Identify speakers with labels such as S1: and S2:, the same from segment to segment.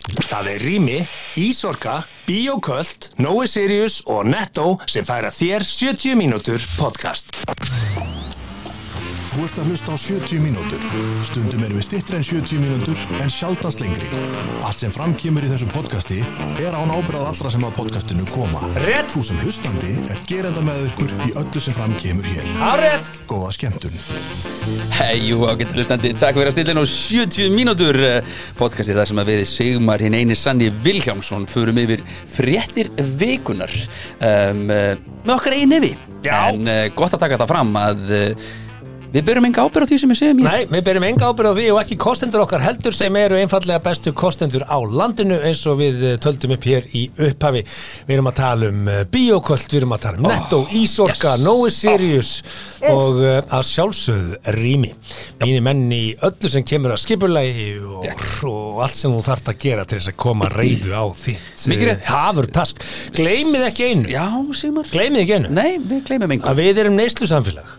S1: Það er Rými, Ísorka, Bíoköld, Nói Sirius og Netto sem færa þér 70 mínútur podcast.
S2: Þú ert að hlusta á 70 mínútur. Stundum erum við stittri en 70 mínútur en sjaldast lengri. Allt sem framkýmur í þessu podcasti er án ábyrðað allra sem að podcastinu koma.
S3: Rétt.
S2: Þú sem hlustandi er gerenda með ykkur í öllu sem framkýmur hér.
S3: Hárétt!
S2: Góða skemmtun.
S4: Heijú, ágættu hlustandi, takk fyrir að stilla nú 70 mínútur eh, podcastið þar sem að við Sigmar hinn eini Sanni Vilhjámsson förum yfir fréttir vikunar um, eh, með okkar einu nefi
S3: Já.
S4: en uh, gott að taka það fram að uh, við byrjum enga ábyrð á því sem við segjum hér
S3: Nei, við berum enga ábyrð á því og ekki kostendur okkar heldur sem eru einfallega bestu kostendur á landinu eins og við eh, töldum upp hér í upphafi. Við erum að tala um bioköld, við erum að tala um Netto, Ísorka,
S4: yes.
S3: Nói Sirius og eh, að sjálfsögð Rými. Mínir menn í öllu sem kemur að skipulagi og,
S4: Rétt.
S3: og allt sem þú þart að gera til þess að koma reyðu á þitt
S4: Mikið
S3: eh,
S4: rétt.
S3: hafurtask. Gleimið ekki einu,
S4: Já, Sigmar
S3: gleimið ekki einu
S4: Nei, við gleymum engu
S3: að við erum neyslusamfélag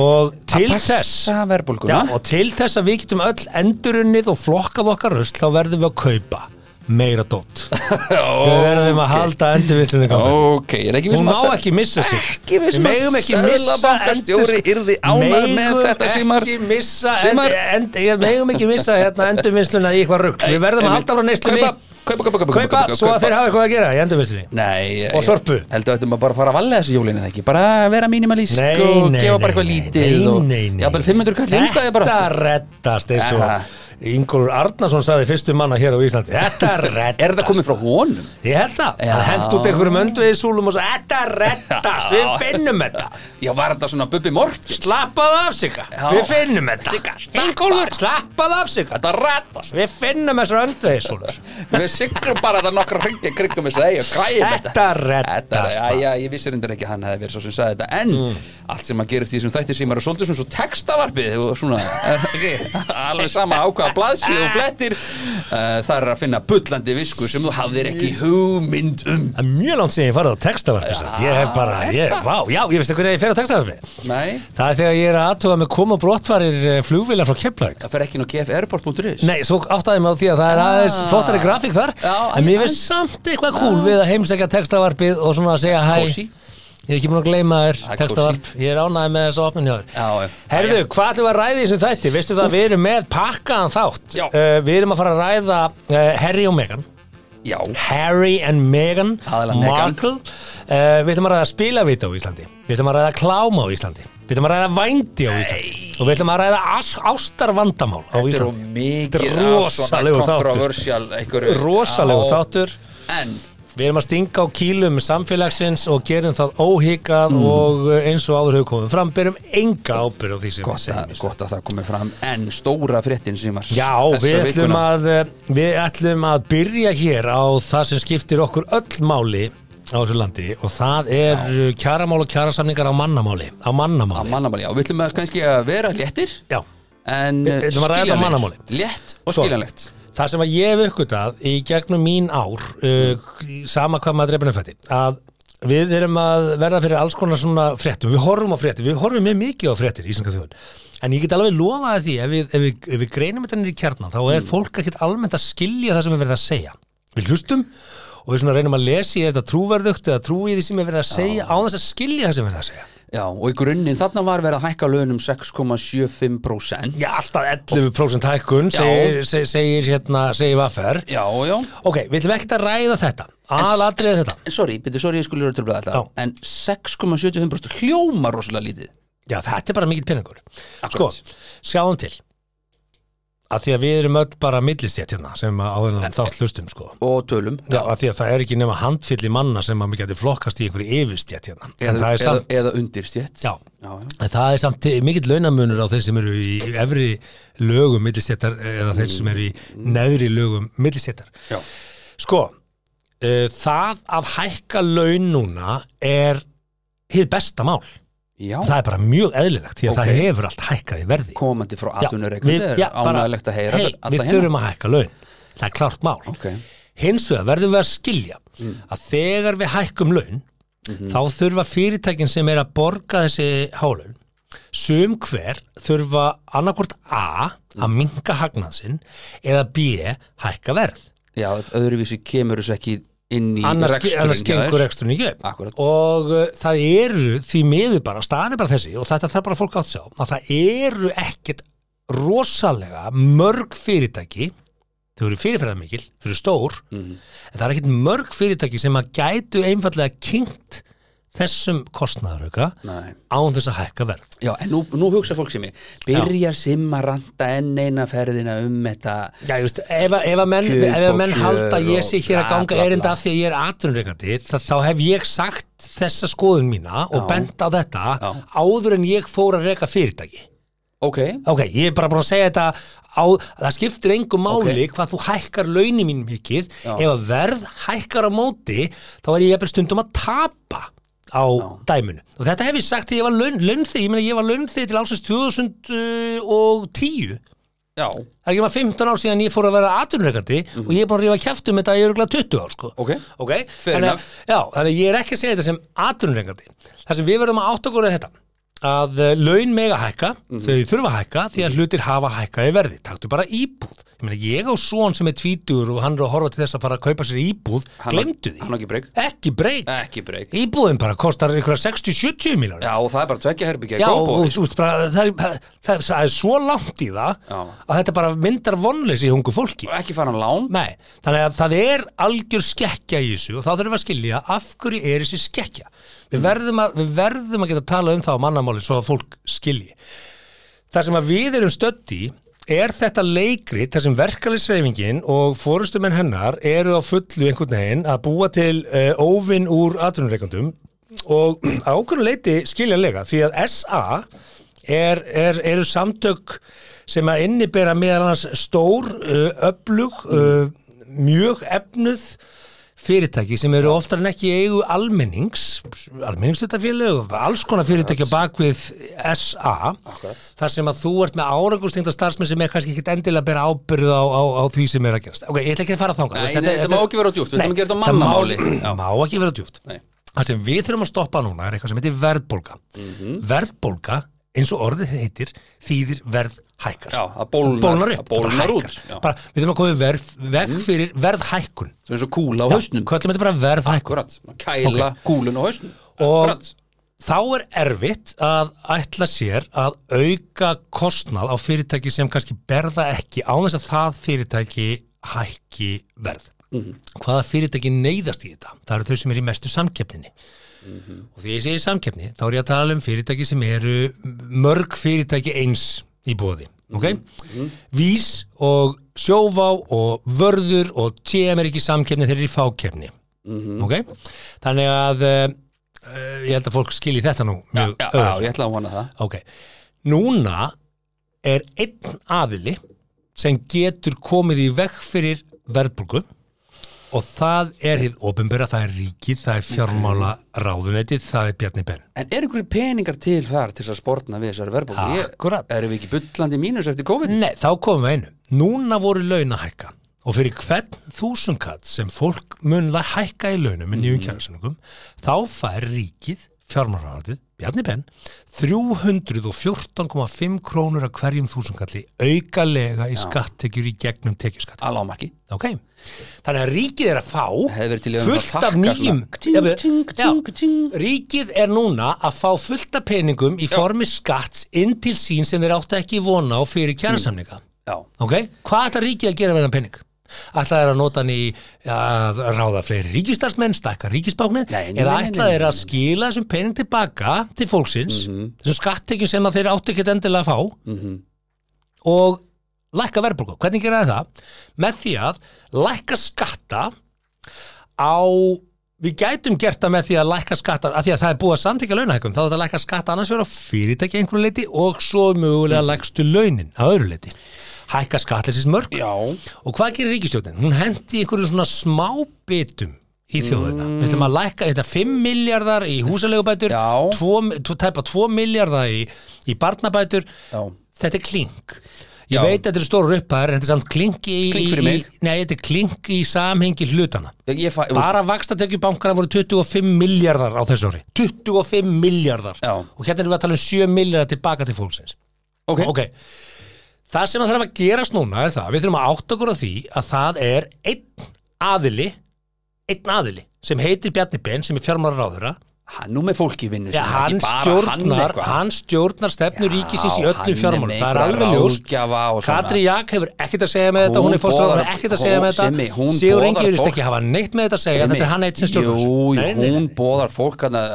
S3: og til
S4: passa
S3: þess Já,
S4: verðbólguna
S3: og til þess að við getum öll endurunnið og flokkað okkar rusl þá verðum við að kaupa meira dót við verðum að halda endurvillinu
S4: Ok, ég er ekki um
S3: hún
S4: vissum
S3: má ekki missa sig
S4: Ekki viss um
S3: við
S4: að
S3: megum ekki missa
S4: seðlabankastjóri
S3: endur-
S4: yrði ánægður með
S3: Megum
S4: þetta, Sigmar.
S3: ekki missa en,
S4: Sigmar.
S3: en, en, megum ekki missa hérna endurvinnsluna í eitthvað rugl við verðum að halda frá neyslinni
S4: Kaupa, kaupa, kaupa, kaupa,
S3: kaupa svo að þeir hafa eitthvað að gera í endurvinnslunni
S4: Nei,
S3: Og
S4: ég-
S3: sorpu.
S4: Heldur að þetta maður bara að fara að valja þessu jólinu eða ekki Bara vera mínimalísk
S3: Nei, nei,
S4: og Sko, gefa
S3: nei,
S4: bara
S3: nei,
S4: eitthvað lítið
S3: nei,
S4: og,
S3: nei, nei.
S4: Jafnvel 500 kall einstæði bara
S3: Þetta reddast eins
S4: Aha.
S3: og Ingólfur Arnarsson saði fyrstu manna hér á Íslandi Þetta reddast
S4: Er þetta komið frá honum?
S3: Ég held það
S4: Já.
S3: Það hendt út einhverjum öndvegisúlum og svo Þetta reddast, við finnum þetta
S4: Já, var þetta svona Bubbi Mortens?
S3: Slappaðu af sigga,
S4: Já.
S3: við finnum þetta
S4: Sigga, slappa.
S3: Ingólfur, slappaðu af sigga
S4: Þetta rætast
S3: Við finnum þessar öndvegisúlur
S4: Við siglum bara þetta nokkra hringi kringum þess að eiga Græðum þetta
S3: Þetta reddast Mm.
S4: Þetta er, æja, ég vissi reyndar ekki að hann hefði verið svo sem sagði þetta En allt sem að gera því sem þættir sem er svolítið svona svo textavarpið og svona, er það ekki, alveg sama ákvaða blaðsíð og flettir uh, Það er að finna bullandi visku sem þú hafðir ekki hugmynd um
S3: Það er mjög langt síðan ég farið á textavarpi samt. Ég hef bara,
S4: er
S3: ég,
S4: það?
S3: vá, já, ég veist hvernig ég fer á textavarpi
S4: Nei,
S3: Það er þegar ég er að aðtuga með koma brottvarir flugvila frá Keflavík
S4: það fer ekki inn á kfairport.is
S3: Nei, svo áttaði mig á því að það er aðeins flottari grafík þar
S4: Já,
S3: Ah. En mér
S4: aðeins.
S3: finnst samt eitthvað cool við að heimsækja textavarpið og svona að segja hæ
S4: Kósí.
S3: Ég er ekki búin að gleyma þér
S4: Það er
S3: textavarp Ég er ánæði með þessu opnin hjá
S4: Já, já.
S3: þér Herðu, hvað ætlum við að ræða í þessum þætti? Veistu það, við erum með pakkaðan þátt
S4: Já.
S3: uh, Við erum að fara að ræða uh, Harry og Meghan
S4: Já,
S3: Harry and Meghan
S4: Aðallega Meghan.
S3: Markle uh, Við ætlum að ræða spilavita á Íslandi Við ætlum að ræða klám á Íslandi Við ætlum að ræða vændi á Íslandi Og við ætlum að ræða as- ástarvandamál á
S4: þetta eru
S3: Íslandi Þetta
S4: mikið
S3: er
S4: af svona
S3: rosalegur þáttur.
S4: kontroversial einhverju-
S3: rosalegu
S4: Já,
S3: þáttur
S4: En
S3: Við erum að stinga á kýlum samfélagsins og gerum það óhíkað
S4: Mm.
S3: og uh, eins og áður hefur komið fram berum enga ábyrð á því sem við
S4: gott að,
S3: segjum í
S4: gott að það komið fram en stóra fréttin sem var
S3: Já, við
S4: þessa
S3: ætlum,
S4: vikuna.
S3: að, uh, við ætlum að byrja hér á það sem skiptir okkur öll máli á þessu landi og það er Já. kjaramál og kjarasamningar á mannamáli á
S4: Á
S3: mannamáli
S4: mannamáli, já, við ætlum að kannski að vera léttir
S3: Já.
S4: en
S3: Við- við ætlum að ræða þetta á mannamáli. Sko.
S4: létt og
S3: Svo.
S4: skiljanlegt
S3: Það sem að ég hef uppgötað í gegnum mín ár uh, sama hvað maður drefnum fætti að við erum að verða fyrir alls konar svona fréttum, við horfum á fréttum, við horfum með mikið á fréttir í Íslandska þjóðun en ég get alveg lofað því ef við, ef við, ef við greinum þetta niður í kjarnan þá er fólk ekkert almennt að skilja það sem er verið að segja við hlustum og við svona reynum að lesa í þetta trúverðugt eða trúið því sem er verið að segja á þess að skilja það sem er verið að segja
S4: já, og í grunninn þarna var verið að hækka launum 6,75%
S3: Já, alltaf 11% hækkun segir, segir, segir, hérna, segir vaffer
S4: já, já,
S3: Ok, við ætlum ekkert að ræða þetta aðalatriðið þetta
S4: en sorry, byrju, sorry, ég skulle vera tilblað þetta
S3: Já.
S4: en 6,75% hljóma rosalega lítið
S3: Já, þetta er bara mikill peningur Sko,
S4: Akkurat.
S3: sjáum til að því að við erum öll bara millistjætt hérna sem að áðurna þátt hlustum sko
S4: og tölum
S3: Já, að því að það er ekki nema handfylli manna sem að mér geti flokkast í einhverju yfirstjætt hérna en
S4: eða,
S3: það er
S4: eða,
S3: samt,
S4: eða undirstjétt
S3: já,
S4: já, já.
S3: en það er samt mikill launamunur á þeir sem eru í efri lögum millistjættar eða þeir sem eru í
S4: Mm.
S3: neðri lögum millistjættar
S4: Já.
S3: Sko, uh, það að hækka laun núna er hið besta mál
S4: já.
S3: það er bara mjög eðlilegt því að
S4: Ok.
S3: það hefur allt hækkað í verði
S4: komandi frá
S3: Já,
S4: atvinnureikundi
S3: við- já, bara,
S4: ánægilegt að heyra
S3: hey,
S4: alla
S3: við
S4: hina.
S3: þurfum að hækka laun það er klart mál
S4: Ok. Mm.
S3: hins vegar verðum við að skilja að þegar við hækkum laun
S4: Mhm.
S3: þá þurfa fyrirtækin sem er að borga þessi hálun sum hver
S4: Mm.
S3: þurfa annarkvort A að minka hagnað sinn eða B hækka verð
S4: já, öðruvísi kemur þessu ekki inn í
S3: annars,
S4: reksturinn
S3: annars
S4: hjá þér.
S3: gengur reksturinn ekki upp.
S4: Akkúrat.
S3: og uh, það eru því miður bara, staðan er bara þessi og þetta þarf bara fólk átt sjá að það eru ekkert rosalega mörg fyrirtæki þau eru fyrirferðarmikil, þau eru stór
S4: Mhm.
S3: en það er ekkert mörg fyrirtæki sem að gætu einfallega kynnt þessum kostnaðarauka
S4: Nei.
S3: án þess að hækka verð
S4: Já, en nú, nú hugsa fólk sem ég Byrjar sim að ranta enn eina ferðina um þetta
S3: Já, ég veist, ef, að- ef að menn,
S4: Kjöp
S3: ef að
S4: og
S3: menn
S4: kjör
S3: halda að ég sé
S4: og
S3: hér að
S4: bla,
S3: ganga
S4: bla,
S3: erinda
S4: bla.
S3: af því að ég er atvinnreikandi þá, þá hef ég sagt þessa skoðun mína og
S4: Já.
S3: bent á þetta
S4: Já.
S3: áður en ég fór að reka fyrirtæki
S4: Ok,
S3: Ok, ég er bara búin að segja þetta á, það skiptir engu máli
S4: Ok.
S3: hvað þú hækkar launi mín mikið
S4: Já.
S3: ef að verð hækkar á móti þá er ég jafnvel stundum að tapa á dæmunu og þetta hef ég sagt þegar ég var laun, launþegi, ég meina ég var launþegi til ásins 2010
S4: já,
S3: Það er ekki maður 15 ár síðan ég fór að vera atvinnureikandi og ég er búin að rífa kjæft um þetta í örgulega 20 ár sko.
S4: Mhm. Ok.
S3: Ok? Þannig
S4: Fair
S3: að,
S4: enough.
S3: já, þannig að ég er ekki að segja þetta sem atvinnureikandi Það sem við verðum að átta góra þetta að eh, laun mega hækka
S4: Mhm.
S3: þau þurfa að hækka því að hlutir hafa hækka í verði taktu bara íbúð ég, meina, ég á svon sem er tvítur og hann er að horfa til þess að fara að kaupa sér íbúð
S4: Hann á-
S3: glemdu því,
S4: hann á ekki breyk.
S3: ekki breyk
S4: ekki breyk
S3: íbúðin bara kostar ykkur 60-70 miljónir
S4: Já, og það er bara tveggja herbyggja í
S3: Já, og
S4: Kópavogi,
S3: þú veist bara, það, það, það, það er svo langt í það
S4: Já.
S3: að þetta bara myndar vonleysi í hungu fólki.
S4: sko. Ekki fara hann lán
S3: Nei, þannig að það er algjör skekkja í þessu og þá þurfum við að skilja af hverju er þessi skekkja. Við verðum að, við verðum að geta að tala um það á mannamáli svo að fólk skilji. Það sem að við erum stödd í er þetta leikrit, þar sem verkalisreifingin og fórustumenn hennar eru á fullu einhvern veginn að búa til uh, óvinn úr atvinnureikandum og að okkur leiti skiljanlega því að SA er, er, eru samtök sem að innibera meðal annars stór, uh, öflug, uh, mjög efnuð fyrirtæki sem eru oftar en ekki í eigu almennings, almenningshlutafélög, alls konar fyrirtæki á bakvið SA,
S4: Akkurat.
S3: þar sem að þú ert með árangustengda starfsmenn sem er kannski ekkit endilega að bera ábyrð á, á, á því sem er að gerast. Ok, ég ætla ekki að fara þangað.
S4: Nei,
S3: veist,
S4: nei, þetta má ekki vera á djúpt, við
S3: Nei,
S4: ætlum að gera þetta á
S3: má-
S4: mannamáli. Já.
S3: Má ekki vera á djúft.
S4: Nei.
S3: Það sem við þurfum að stoppa núna er eitthvað sem heitir verðbólga.
S4: Mhm.
S3: Verðbólga, eins og orðið heitir, þýðir verð hækkar.
S4: Já, það bólnar,
S3: bólnar upp,
S4: það bólnar
S3: bara
S4: út
S3: hækkar.
S4: já. Mhm.
S3: Bara, við þurfum að koma í verð, veg fyrir verðhækkun.
S4: Svo eins og kúla á hausnum
S3: Hvað ætlum þetta bara verðhækkun?
S4: Akkurat, kæla kúlun á hausnum
S3: Og-
S4: Akkurat,
S3: Þá er erfitt að ætla sér að auka kostnað á fyrirtæki sem kannski berða ekki á þess að það fyrirtæki hækki verð.
S4: Mhm.
S3: Hvaða fyrirtæki neyðast í þetta? Það eru þau sem eru í mestu samkeppninni.
S4: Mhm.
S3: Og því ég segi samkeppni, þá er ég að tala um fyrirtæki sem eru mörg fyrirtæki eins í bóði. Okay?
S4: Mhm.
S3: Vís og sjóvá og vörður og TM er ekki í samkeppni, þeir eru í fákeppni.
S4: Mhm.
S3: Okay? Þannig að uh, ég held að fólk skilji þetta nú
S4: já,
S3: mjög
S4: já, já,
S3: auðvelt.
S4: ég ætla að vona það
S3: Ok, núna er einn aðili sem getur komið í veg fyrir verðbólgu og það er hið ofinbera, það er ríkið, það er fjármála ráðunetið, það er Bjarni Ben.
S4: En er einhverju peningar til þar til þess að spórna við þessari verðbólgu?
S3: Akkúrat.
S4: Ég- Erum við ekki bullandi í mínus eftir COVID?
S3: Nei, þá komum við einu. Núna voru laun að hækka og fyrir hvern þúsunkatt sem fólk mun la- hækka í launum með
S4: Mhm.
S3: nýjum kjærasamningum, þá fær ríkið fjármálaráðið, Bjarni Ben 314,5 krónur af hverjum þúsunkalli aukalega í skattekjur í gegnum tekjuskatt.
S4: Alla á marki
S3: Ok, þannig að ríkið er að
S4: hefði verið til
S3: fá
S4: í að
S3: fullt
S4: taka
S3: af nýjum
S4: svona, ting,
S3: Já, við-
S4: ting, ting,
S3: já,
S4: ting.
S3: Ríkið er núna að fá fullt af peningum í formi skatts inn til sín sem þeir áttu ekki vona á fyrir kjærasamninga
S4: Já,
S3: Ok, hvað ætlar ríkið að gera verðan pening? Ætla þeir að nota hann í að ráða fleiri ríkistarsmenn, stakka ríkisbáknið
S4: Nei, nei,
S3: eða
S4: nei, nei,
S3: ætla þeir
S4: nei, Mhm.
S3: að skila þessum pening tilbaka til fólksins þessum skattekjum sem að þeir áttu ekki endilega að fá og lækka verðbólgu. Hvernig gera þeir það? Með því að lækka skatta á við gætum gert það með því að lækka skatta af því að það er búið að samþykja launahækum þá er þetta að lækka skatta annars vera fyrirtæki að einhverju leiti og svo mögulega
S4: Mm.
S3: lækstu launin að öðru leiti. Hækka skattleysins mörg
S4: já,
S3: og hvað gerir ríkistjóttin? Hún hendi einhverju svona smábitum í þjóðina.
S4: Mm.
S3: Við ætlum að lækka þetta 5 miljardar í húsalegubætur,
S4: Já.
S3: 2, tæpa 2 miljardar í, í barnabætur,
S4: já
S3: þetta er klink ég
S4: Já.
S3: veit að þetta er stóru upphæðar en þetta er samt klink í,
S4: Klink fyrir mig.
S3: í nei, þetta er klink í samhengi hlutana
S4: Ég, ég fæ,
S3: bara vakstatekju bankana voru 25 miljardar á þessu ári 25 miljardar
S4: Já.
S3: og hérna erum við að tala um 7 miljardar tilbaka til fólksins
S4: ok,
S3: ok, það sem að þarf að gerast núna er það, við þurfum að átta okkur á því að það er einn aðili einn aðili sem heitir Bjarni Ben sem er fjármálar ráðura
S4: hann nú með fólki vinnu
S3: ja,
S4: sinni,
S3: hann,
S4: ekki bara hann
S3: stjórnar,
S4: eitthvað.
S3: hann stjórnar stefnu ríkisins í
S4: Já, hann
S3: öllum fjármálum
S4: er með
S3: það er
S4: einhverja
S3: alveg ljóst
S4: ráðgjafa og svona.
S3: Katri Jak hefur ekkert að segja með þetta
S4: Hún
S3: hún er fórstæðan,
S4: boðar-
S3: ekkert að segja með
S4: Simmi,
S3: þetta
S4: hún
S3: Sigur
S4: boðar
S3: Ingi virðist
S4: fólk-
S3: ekki hafa neitt með þetta að segja þetta er hann eitt sem stjórnar
S4: jú,
S3: þessu. Nei,
S4: nei,
S3: nei, nei.
S4: hún bóðar fólk hana,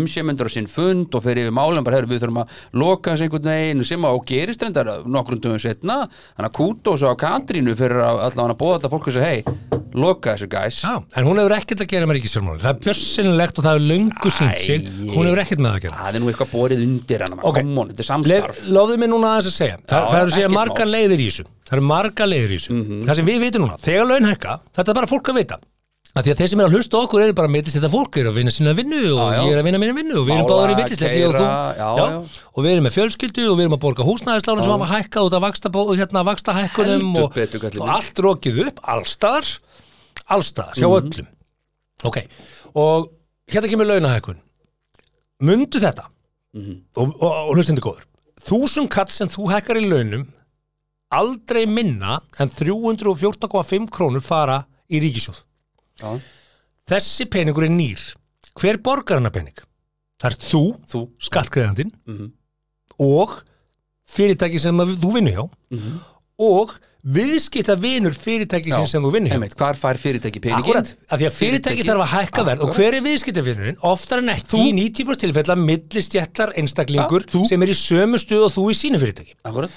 S4: umsjömyndur á sinn fund og fyrir við málum bara herri, við þurfum að loka þessu einhvern veginn sem á gerist reyndar nokkrum dögum setna hann að kúta og svo á Katrínu fyrir að allan að bóða þetta fólk og segja hei, loka þessu guys
S3: Já, en hún hefur ekkert að gera með ríkisfjármálum það er bjössinlegt og það er löngu sínt sig
S4: Æi.
S3: hún hefur ekkert með það að gera
S4: það er nú eitthvað borið undir hann
S3: Ok.
S4: okay. come on, þetta er samstarf
S3: Lofðu mig núna aðeins að segja Þa,
S4: Já,
S3: Það eru segja
S4: ekkert
S3: margar
S4: mál. Mhm.
S3: leiðir í þessu Það eru margar leiðir í þessu Það sem við vitum núna, þegar laun hækka Þetta er bara fólk að vita að Því að þeir sem er að hlusta á okkur eru bara mittist þetta fólk eru að vinna sína vinnu og
S4: Já, já.
S3: ég er að vinna mína vinnu og við erum
S4: Mála,
S3: báður í mittist og, þú,
S4: keyra, já, já.
S3: og við erum með fjölskyldu og við erum að borga húsnæðislánum sem hafa hækkað út af vaksta, hérna, vaksta hækkunum
S4: Heldur
S3: og,
S4: betur,
S3: og
S4: kallinn minn.
S3: allt rokið upp, allstaðar allstaðar,
S4: Mhm.
S3: hjá öllum Ok, og hérna kemur launahækkun Mundu þetta
S4: Mhm.
S3: og, og, og hlustandi góður Þúsund kall sem þú hækkar í launum aldrei minna en 314,5 krónur fara í ríkisjóð
S4: Já.
S3: Þessi peningur er nýr Hver borgar hennar pening? Það er þú,
S4: þú,
S3: skattgreðandinn
S4: Mhm.
S3: og fyrirtæki sem að þú vinnur hjá og viðskipta vinur fyrirtæki
S4: Mhm. Já.
S3: sem þú vinnur hjá
S4: einmitt, hvar fær fyrirtæki peningin
S3: Akkurat, af því að fyrirtæki þarf að hækka verð og
S4: Akkurat.
S3: hver er viðskiptafinnurinn? Oftar en ekki í 90% tilfella millistjættar einstaklingur
S4: Ja, þú.
S3: sem er í sömu stuð og þú í sínu fyrirtæki.
S4: Akkurat.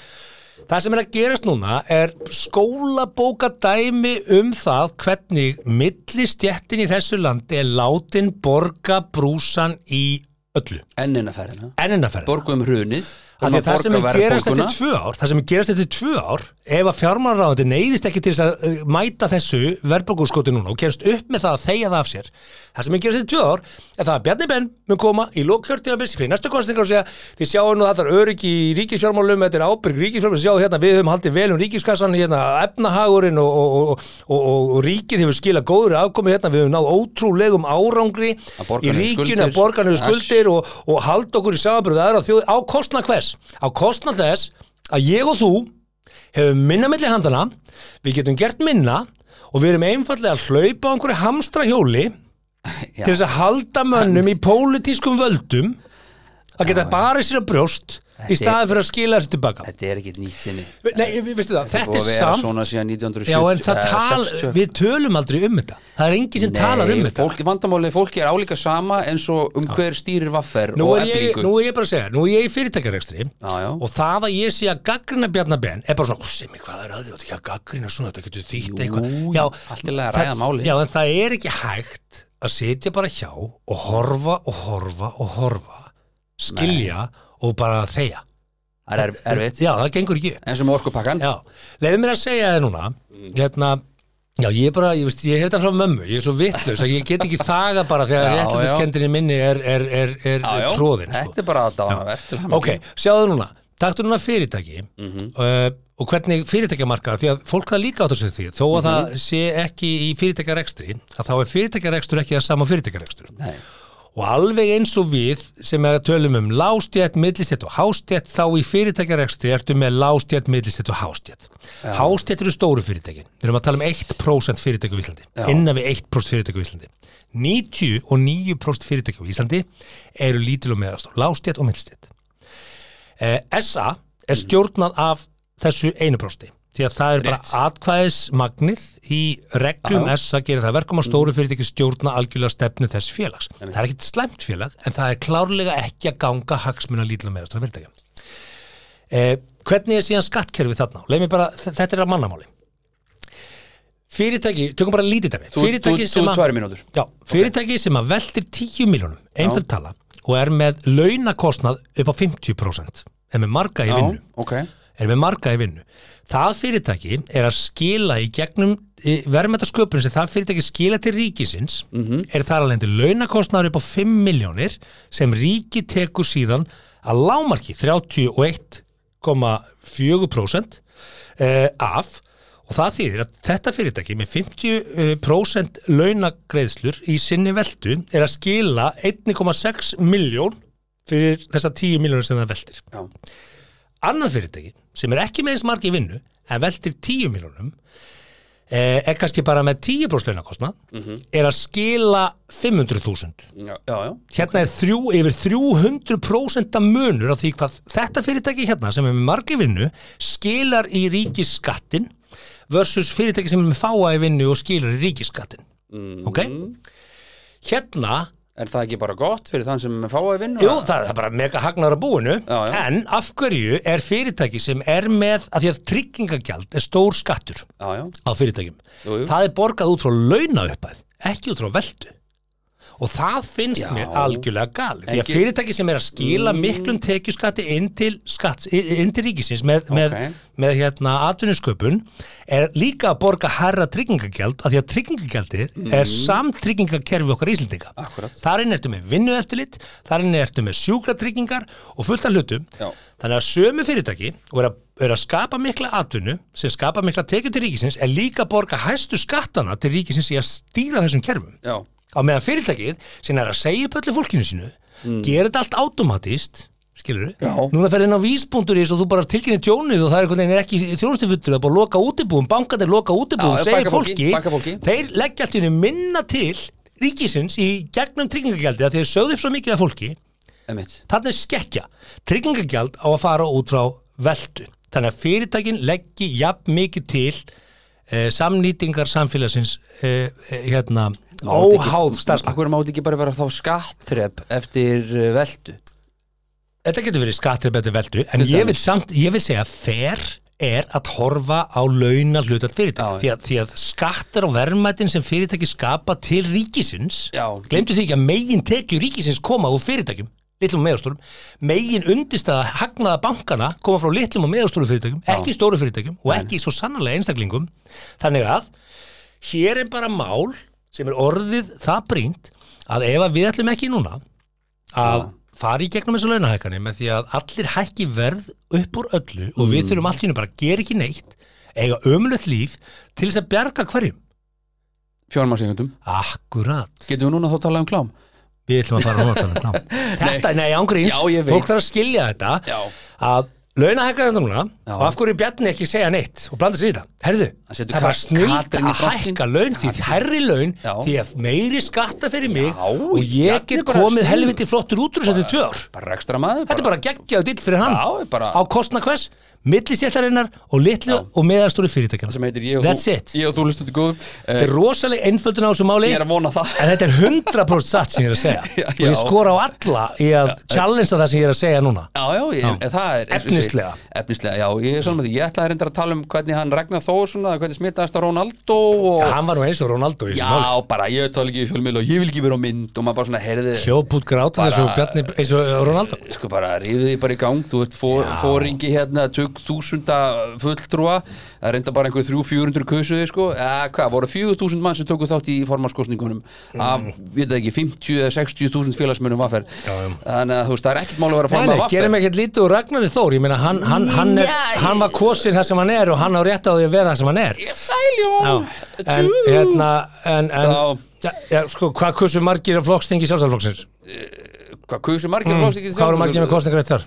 S3: Það sem er að gerast núna er skólabóka dæmi um það hvernig millistjættin í þessu landi er látin borga brúsan í öllu.
S4: enn eina ferðina
S3: Enninnaferð.
S4: borgu um hrunið
S3: Af
S4: um
S3: því að það sem er gerast
S4: verðbólguna.
S3: eftir tvö ár, það sem er gerast eftir tvö ár, ef að fjármálaráðandi neyðist ekki til þess að uh, mæta þessu verðbólgurskoti núna og gerst upp með það að þegja það af sér, það sem er gerast eftir tvö ár, er það að Bjarni Ben mun koma í lókkjörtíðabils fyrir næstu kostningar og segja, þið sjáu nú að það er öryggi í ríkisfjármálum, þetta er ábyrg ríkisfjármálum, þið sjáu hérna við höfum haldið vel um ríkiskassan, hérna efnahagurinn og, og, og, og, og, og ríkið hefur skilað góður afkomi hérna, við höfum náð ótrúlegum árangri
S4: Að borga
S3: í
S4: niður
S3: ríkinu
S4: skuldir.
S3: að borgarnu
S4: Ass.
S3: skuldir eftir og, og halda okkur í samanbröðu aðra þjóð á kostna hvers á kostna þess að ég og þú hefum minna milli handana við getum gert minna og við erum einfallega að hlaupa á einhverju hamstra hjóli
S4: Já.
S3: til þess að halda mönnum í pólitískum völdum að geta barið sér að brjóst í
S4: Þetta er-
S3: staði fyrir að skila þessu tilbaka
S4: þetta er ekkit nýtt sinni
S3: Nei, við veistu það, þetta
S4: búið
S3: er
S4: að vera
S3: samt
S4: svona síðan 1970
S3: Já, en það
S4: eh,
S3: tal,
S4: 60.
S3: við tölum aldrei um þetta Það er engin sem talar um þetta
S4: fólk, vandamálið fólki er álíka sama eins og um hver stýrir vaffer
S3: nú
S4: og
S3: er, ég,
S4: eflingu
S3: nú er ég bara að segja, nú er ég í fyrirtækjarekstri
S4: Já, já.
S3: og það að ég sé að gaggrina Bjarnar Ben er bara svona, sem ég hvað er að því, þú átt ekki að gaggrina svona, þetta getur
S4: Jú,
S3: þýtt eitthvað
S4: jú, allt í lagi að
S3: það-
S4: ræða málið.
S3: Já, en það er ekki hægt að sitja bara hjá og horfa og horfa og horfa skilja og bara þegja
S4: það er erfitt
S3: Já, það gengur ekki upp.
S4: eins og með orkupakkan
S3: Já, leiði mér að segja þér núna hérna, já ég er bara, ég veist, ég hef þetta frá mömmu ég er svo vittlaus að ég get ekki þaga bara þegar
S4: Já,
S3: réttlætiskendinni minni er, er, er, er,
S4: Já,
S3: er
S4: já,
S3: tróðin sko.
S4: þetta er bara aðdáðanavert til hamingju. Mhm.
S3: Ok, sjáðu núna, taktu núna fyrirtæki
S4: Mm.
S3: uh, og hvernig fyrirtækjamarkaðar því að fólk það líka átt að segja því þó að það sé ekki í fyrirtækjarekstri að þá er fyrirtækjarekstur ekki það sama og fyrirtækjarekstur
S4: Nei.
S3: og alveg eins og við sem er að tölum um lástjætt, millistjætt og hástjætt þá í fyrirtækjarekstri ertu með lástjætt, millistjætt og hástjætt hástjætt eru stóru fyrirtækin við erum að tala um 1% fyrirtæki á Íslandi
S4: Já.
S3: innan við 1% fyrirtæki á Íslandi 99% fyrirtæki á Íslandi eru lítil og meðastór lástjætt og millistjætt Eh, SA er stjórnað af þessu einu prósti því að það er
S4: Rétt.
S3: bara atkvæðismagnið í reglum
S4: Já. Mm.
S3: SA gerir það verkum að stóru fyrirtæki stjórna algjörlega stefnu þess félags. Það er ekkit slæmt félag en það er klárlega ekki að ganga hagsmuna lítla með þessara fyrirtækja. Eh, hvernig er síðan skattkerfið þarna? Leif mér bara, þ- þetta er að mannamáli. Fyrirtæki, tökum bara lítið dæmi.
S4: þú, þú,
S3: Fyrirtæki
S4: þú
S3: sem að-
S4: tvær mínútur
S3: Já, fyrirtæki sem að veltir 10 miljónum, einföld tala, og er með launakostnað upp á 50%, er með marga í
S4: Já,
S3: vinnu,
S4: ok
S3: er með marga í vinnu. Það fyrirtæki er að skila í gegnum verðmættasköpun sem það fyrirtæki skila til ríkisins, er þar alveg launakostnaður upp á 5 miljónir sem ríki tekur síðan að lámarki 31,4% eh, af og það þýðir að þetta fyrirtæki með 50% launagreðslur í sinni veldu er að skila 1,6 miljón fyrir þessa 10 miljónir sem það veldir
S4: Já.
S3: annað fyrirtæki sem er ekki með eins margi í vinnu en veltir 10 miljónum eh, er kannski bara með 10% launakostnað er að skila 500.000
S4: já, já, já.
S3: hérna er þrjú, yfir 300% af munur á því hvað þetta fyrirtæki hérna sem er með margi vinnu skilar í ríkisskattin versus fyrirtæki sem er með fáa í vinnu og skilar í ríkisskattin ok? Hérna
S4: Er það ekki bara gott fyrir þann sem fáið vinnu?
S3: Jú, það er bara mega hagnar á búinu
S4: Já, já.
S3: en af hverju er fyrirtæki sem er með, af því að tryggingagjald er stór skattur
S4: Já, já,
S3: á fyrirtækjum
S4: Jú, jú.
S3: það er borgað út frá launaupphæð ekki út frá veltu og það finnst
S4: Já.
S3: mér algjörlega gali því að
S4: Ekki- Mm.
S3: fyrirtæki sem er að skila miklum tekjuskatti inn til, skatts, inn til ríkisins með,
S4: Ok.
S3: með, með hérna atvinnusköpun er líka að borga herra tryggingagjald af því að tryggingagjaldið er samtryggingakerfi okkar Íslendinga
S4: Akkúrat.
S3: þar inn ertu með vinnueftirlit þar inn ertu með sjúkratryggingar og fullt af hlutum
S4: Já.
S3: þannig að sömu fyrirtæki og er að, er að skapa mikla atvinnu sem skapa mikla tekjur til ríkisins er líka að borga hæstu skattana til ríkisins í að stýra þessum kerfum
S4: já,
S3: á meðan fyrirtækið sem er að segja upp öllu fólkinu sínu gera þetta allt automatist skilur
S4: Mm. Já.
S3: núna ferði inn á vísbúnduris og þú bara tilkynni tjónið og það er einhvern veginn ekki þjónustufuttur það er bara að loka útibúum, bankarnir loka útibúum
S4: Já,
S3: segja upp
S4: fækka fólki,
S3: fólki,
S4: fækka fólki.
S3: þeir leggja allt í einu minna til ríkisins í gegnum tryggingagjaldið að þeir sögðu upp svo mikið af fólki
S4: emitt
S3: þannig skekkja tryggingagjald á að fara út frá veldu þannig að fyrirtækin leggji jafn mikið til eh, samnýtingar samfélagsins eh, eh, hérna, óháð starfsmann
S4: Akkur mátt ekki bara vera þá skattþrepp eftir eh, veltu
S3: þetta getur verið skattrið betur veldu en
S4: Til
S3: ég
S4: dæmis.
S3: vil samt, ég vil segja fair er að horfa á launa hlutat
S4: Já, já.
S3: fyrirtæki því að, því að skattar og verðmætin sem fyrirtæki skapa til ríkisins
S4: Já.
S3: glemdu því ekki að megin tekju ríkisins koma úr fyrirtækjum litlum og meðastórum megin undirstaða hagnaða bankana koma frá litlum og meðastórum fyrirtækjum ekki stóru fyrirtækjum og ekki svo sannarlega einstaklingum þannig að hér er bara mál sem er orðið það brínt að ef að við ætlum ekki núna að fara í gegnum þessu launahækani með því að allir hækki verð upp úr öllu og við þurfum allt í hennu bara að gera ekki neitt eiga ömulegt líf til þess að bjarga hverjum
S4: Fjármarsengundum
S3: Akkurat,
S4: Getum við núna þá að tala um klám?
S3: við ætlum að fara að nota hann klám Þetta, nei, ángríns,
S4: Já, ég veit.
S3: fólk þarf að skilja þetta
S4: Já.
S3: að launahækka þetta núna
S4: Já.
S3: og af hverju Bjarni ekki segja neitt og blanda sér í þetta, herðu,
S4: Hann
S3: það
S4: setur
S3: er bara
S4: Kat-
S3: snilt
S4: Katrín í
S3: að
S4: brottinn.
S3: hækka laun því herri laun
S4: Já.
S3: því að meiri skatta fyrir mig
S4: Já,
S3: og ég
S4: Bjarni
S3: get
S4: bara
S3: komið
S4: snill.
S3: helviti flottur útrús eftir tvö ár
S4: Bara ekstra maður
S3: Þetta er bara geggjaðu dill fyrir hann
S4: Já, bara-
S3: á kostna hvers, millisjættarinnar og litlu og meðarstóri fyrirtækjana
S4: sem heitir ég og
S3: That's
S4: þú
S3: it.
S4: Ég og þú listu til góðu
S3: Þetta
S4: uh,
S3: er rosaleg einföldun á þessu máli
S4: Ég er að vona það
S3: en þetta er 100% satt sem ég er að segja
S4: Já,
S3: og ég
S4: já.
S3: skora á alla í að challengea það sem ég er að segja núna
S4: Já, já, ég, já. það er eins og ég segi-
S3: Efnislega.
S4: Efnislega, já, ég er svona með því Ég ætlaði reyndar að tala um hvernig hann Ragnar Þórsson hvernig smitaðist á Ronaldo og...
S3: Já, hann var nú eins og Ronaldo í þessu máli
S4: Já, bara ég tala ekki í fjölmiðl og ég vil ekki vera á mynd og maður bara svona heyrði
S3: hljóp út grátan eins og Bjarni eins og Ronaldo
S4: sko bara ríði því bara í gang þú ert fó-
S3: Já.
S4: fóringi hérna tök þúsunda fulltrúa það reynda bara einhver 300-400 kausuði sko eða hvað, voru 4000 mann sem tóku þátt í formanskostningunum af, við það ekki, 50 eða 60.000 félagsmönnum vaffer
S3: Mm. Já, já.
S4: þannig að þú veist, það er ekkert mál að vera
S3: Nei,
S4: formann
S3: nei,
S4: vaffer
S3: gerum ekkert lítið úr Ragnarði Þór ég meina hann, hann, hann, er,
S4: Já, ég-
S3: hann var kosin það sem hann er og hann á rétt á því að vera það sem hann er Já,
S4: Sæljón,
S3: en hérna en, en
S4: Já.
S3: já, já, sko, hvað kursu margir af flokkstingi sjálfstæðarflokksins?
S4: hvað kausu margir mm, flóksið
S3: Hvað eru margir með kostningarétt þar?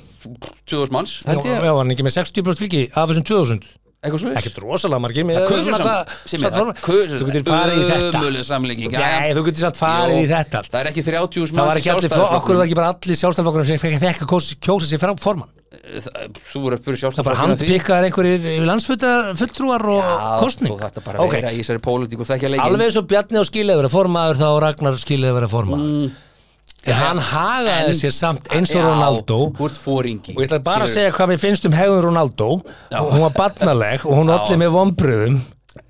S4: 2000 manns, held
S3: Já,
S4: ég,
S3: já, hann ekki með 60% fylgi af þessum 2000
S4: eitthvað svo
S3: Ekkert rosalega margir með
S4: Það kusu
S3: svona
S4: samt,
S3: hvað-
S4: sem
S3: svona
S4: er það,
S3: form-
S4: kusu
S3: Þú getur farið í þetta
S4: Ömuleg samlíking, já, já.
S3: Nei, þú getur satt farið í
S4: Jú,
S3: þetta
S4: Það er ekki 30
S3: Það var ekki allir, flokk- okkur var ekki bara allir sjálfstæðarflokkurum sem fekk fekk að kjósa- kjósa sér frá formann
S4: ekki Þú voru
S3: Það
S4: að spyrja
S3: bara
S4: sjálfstæðarflokkurinn að því.
S3: handpikkaðar einhverjir landsfulltrúar og
S4: Já,
S3: kostning
S4: Þú þetta bara að
S3: Ok,
S4: vera í þessari pólitík og þekkja leikin
S3: Alveg eins og Bjarni á skiljaði vera formaður þá á Ragnar skiljaði vera formaður
S4: Mm.
S3: En hann hagaði sér samt eins og Ronaldo
S4: Þú ert fóringi
S3: Og ég ætla bara að segja hvað mér finnst um hegðun Ronaldo og hún var barnaleg og hún olli með vombröðum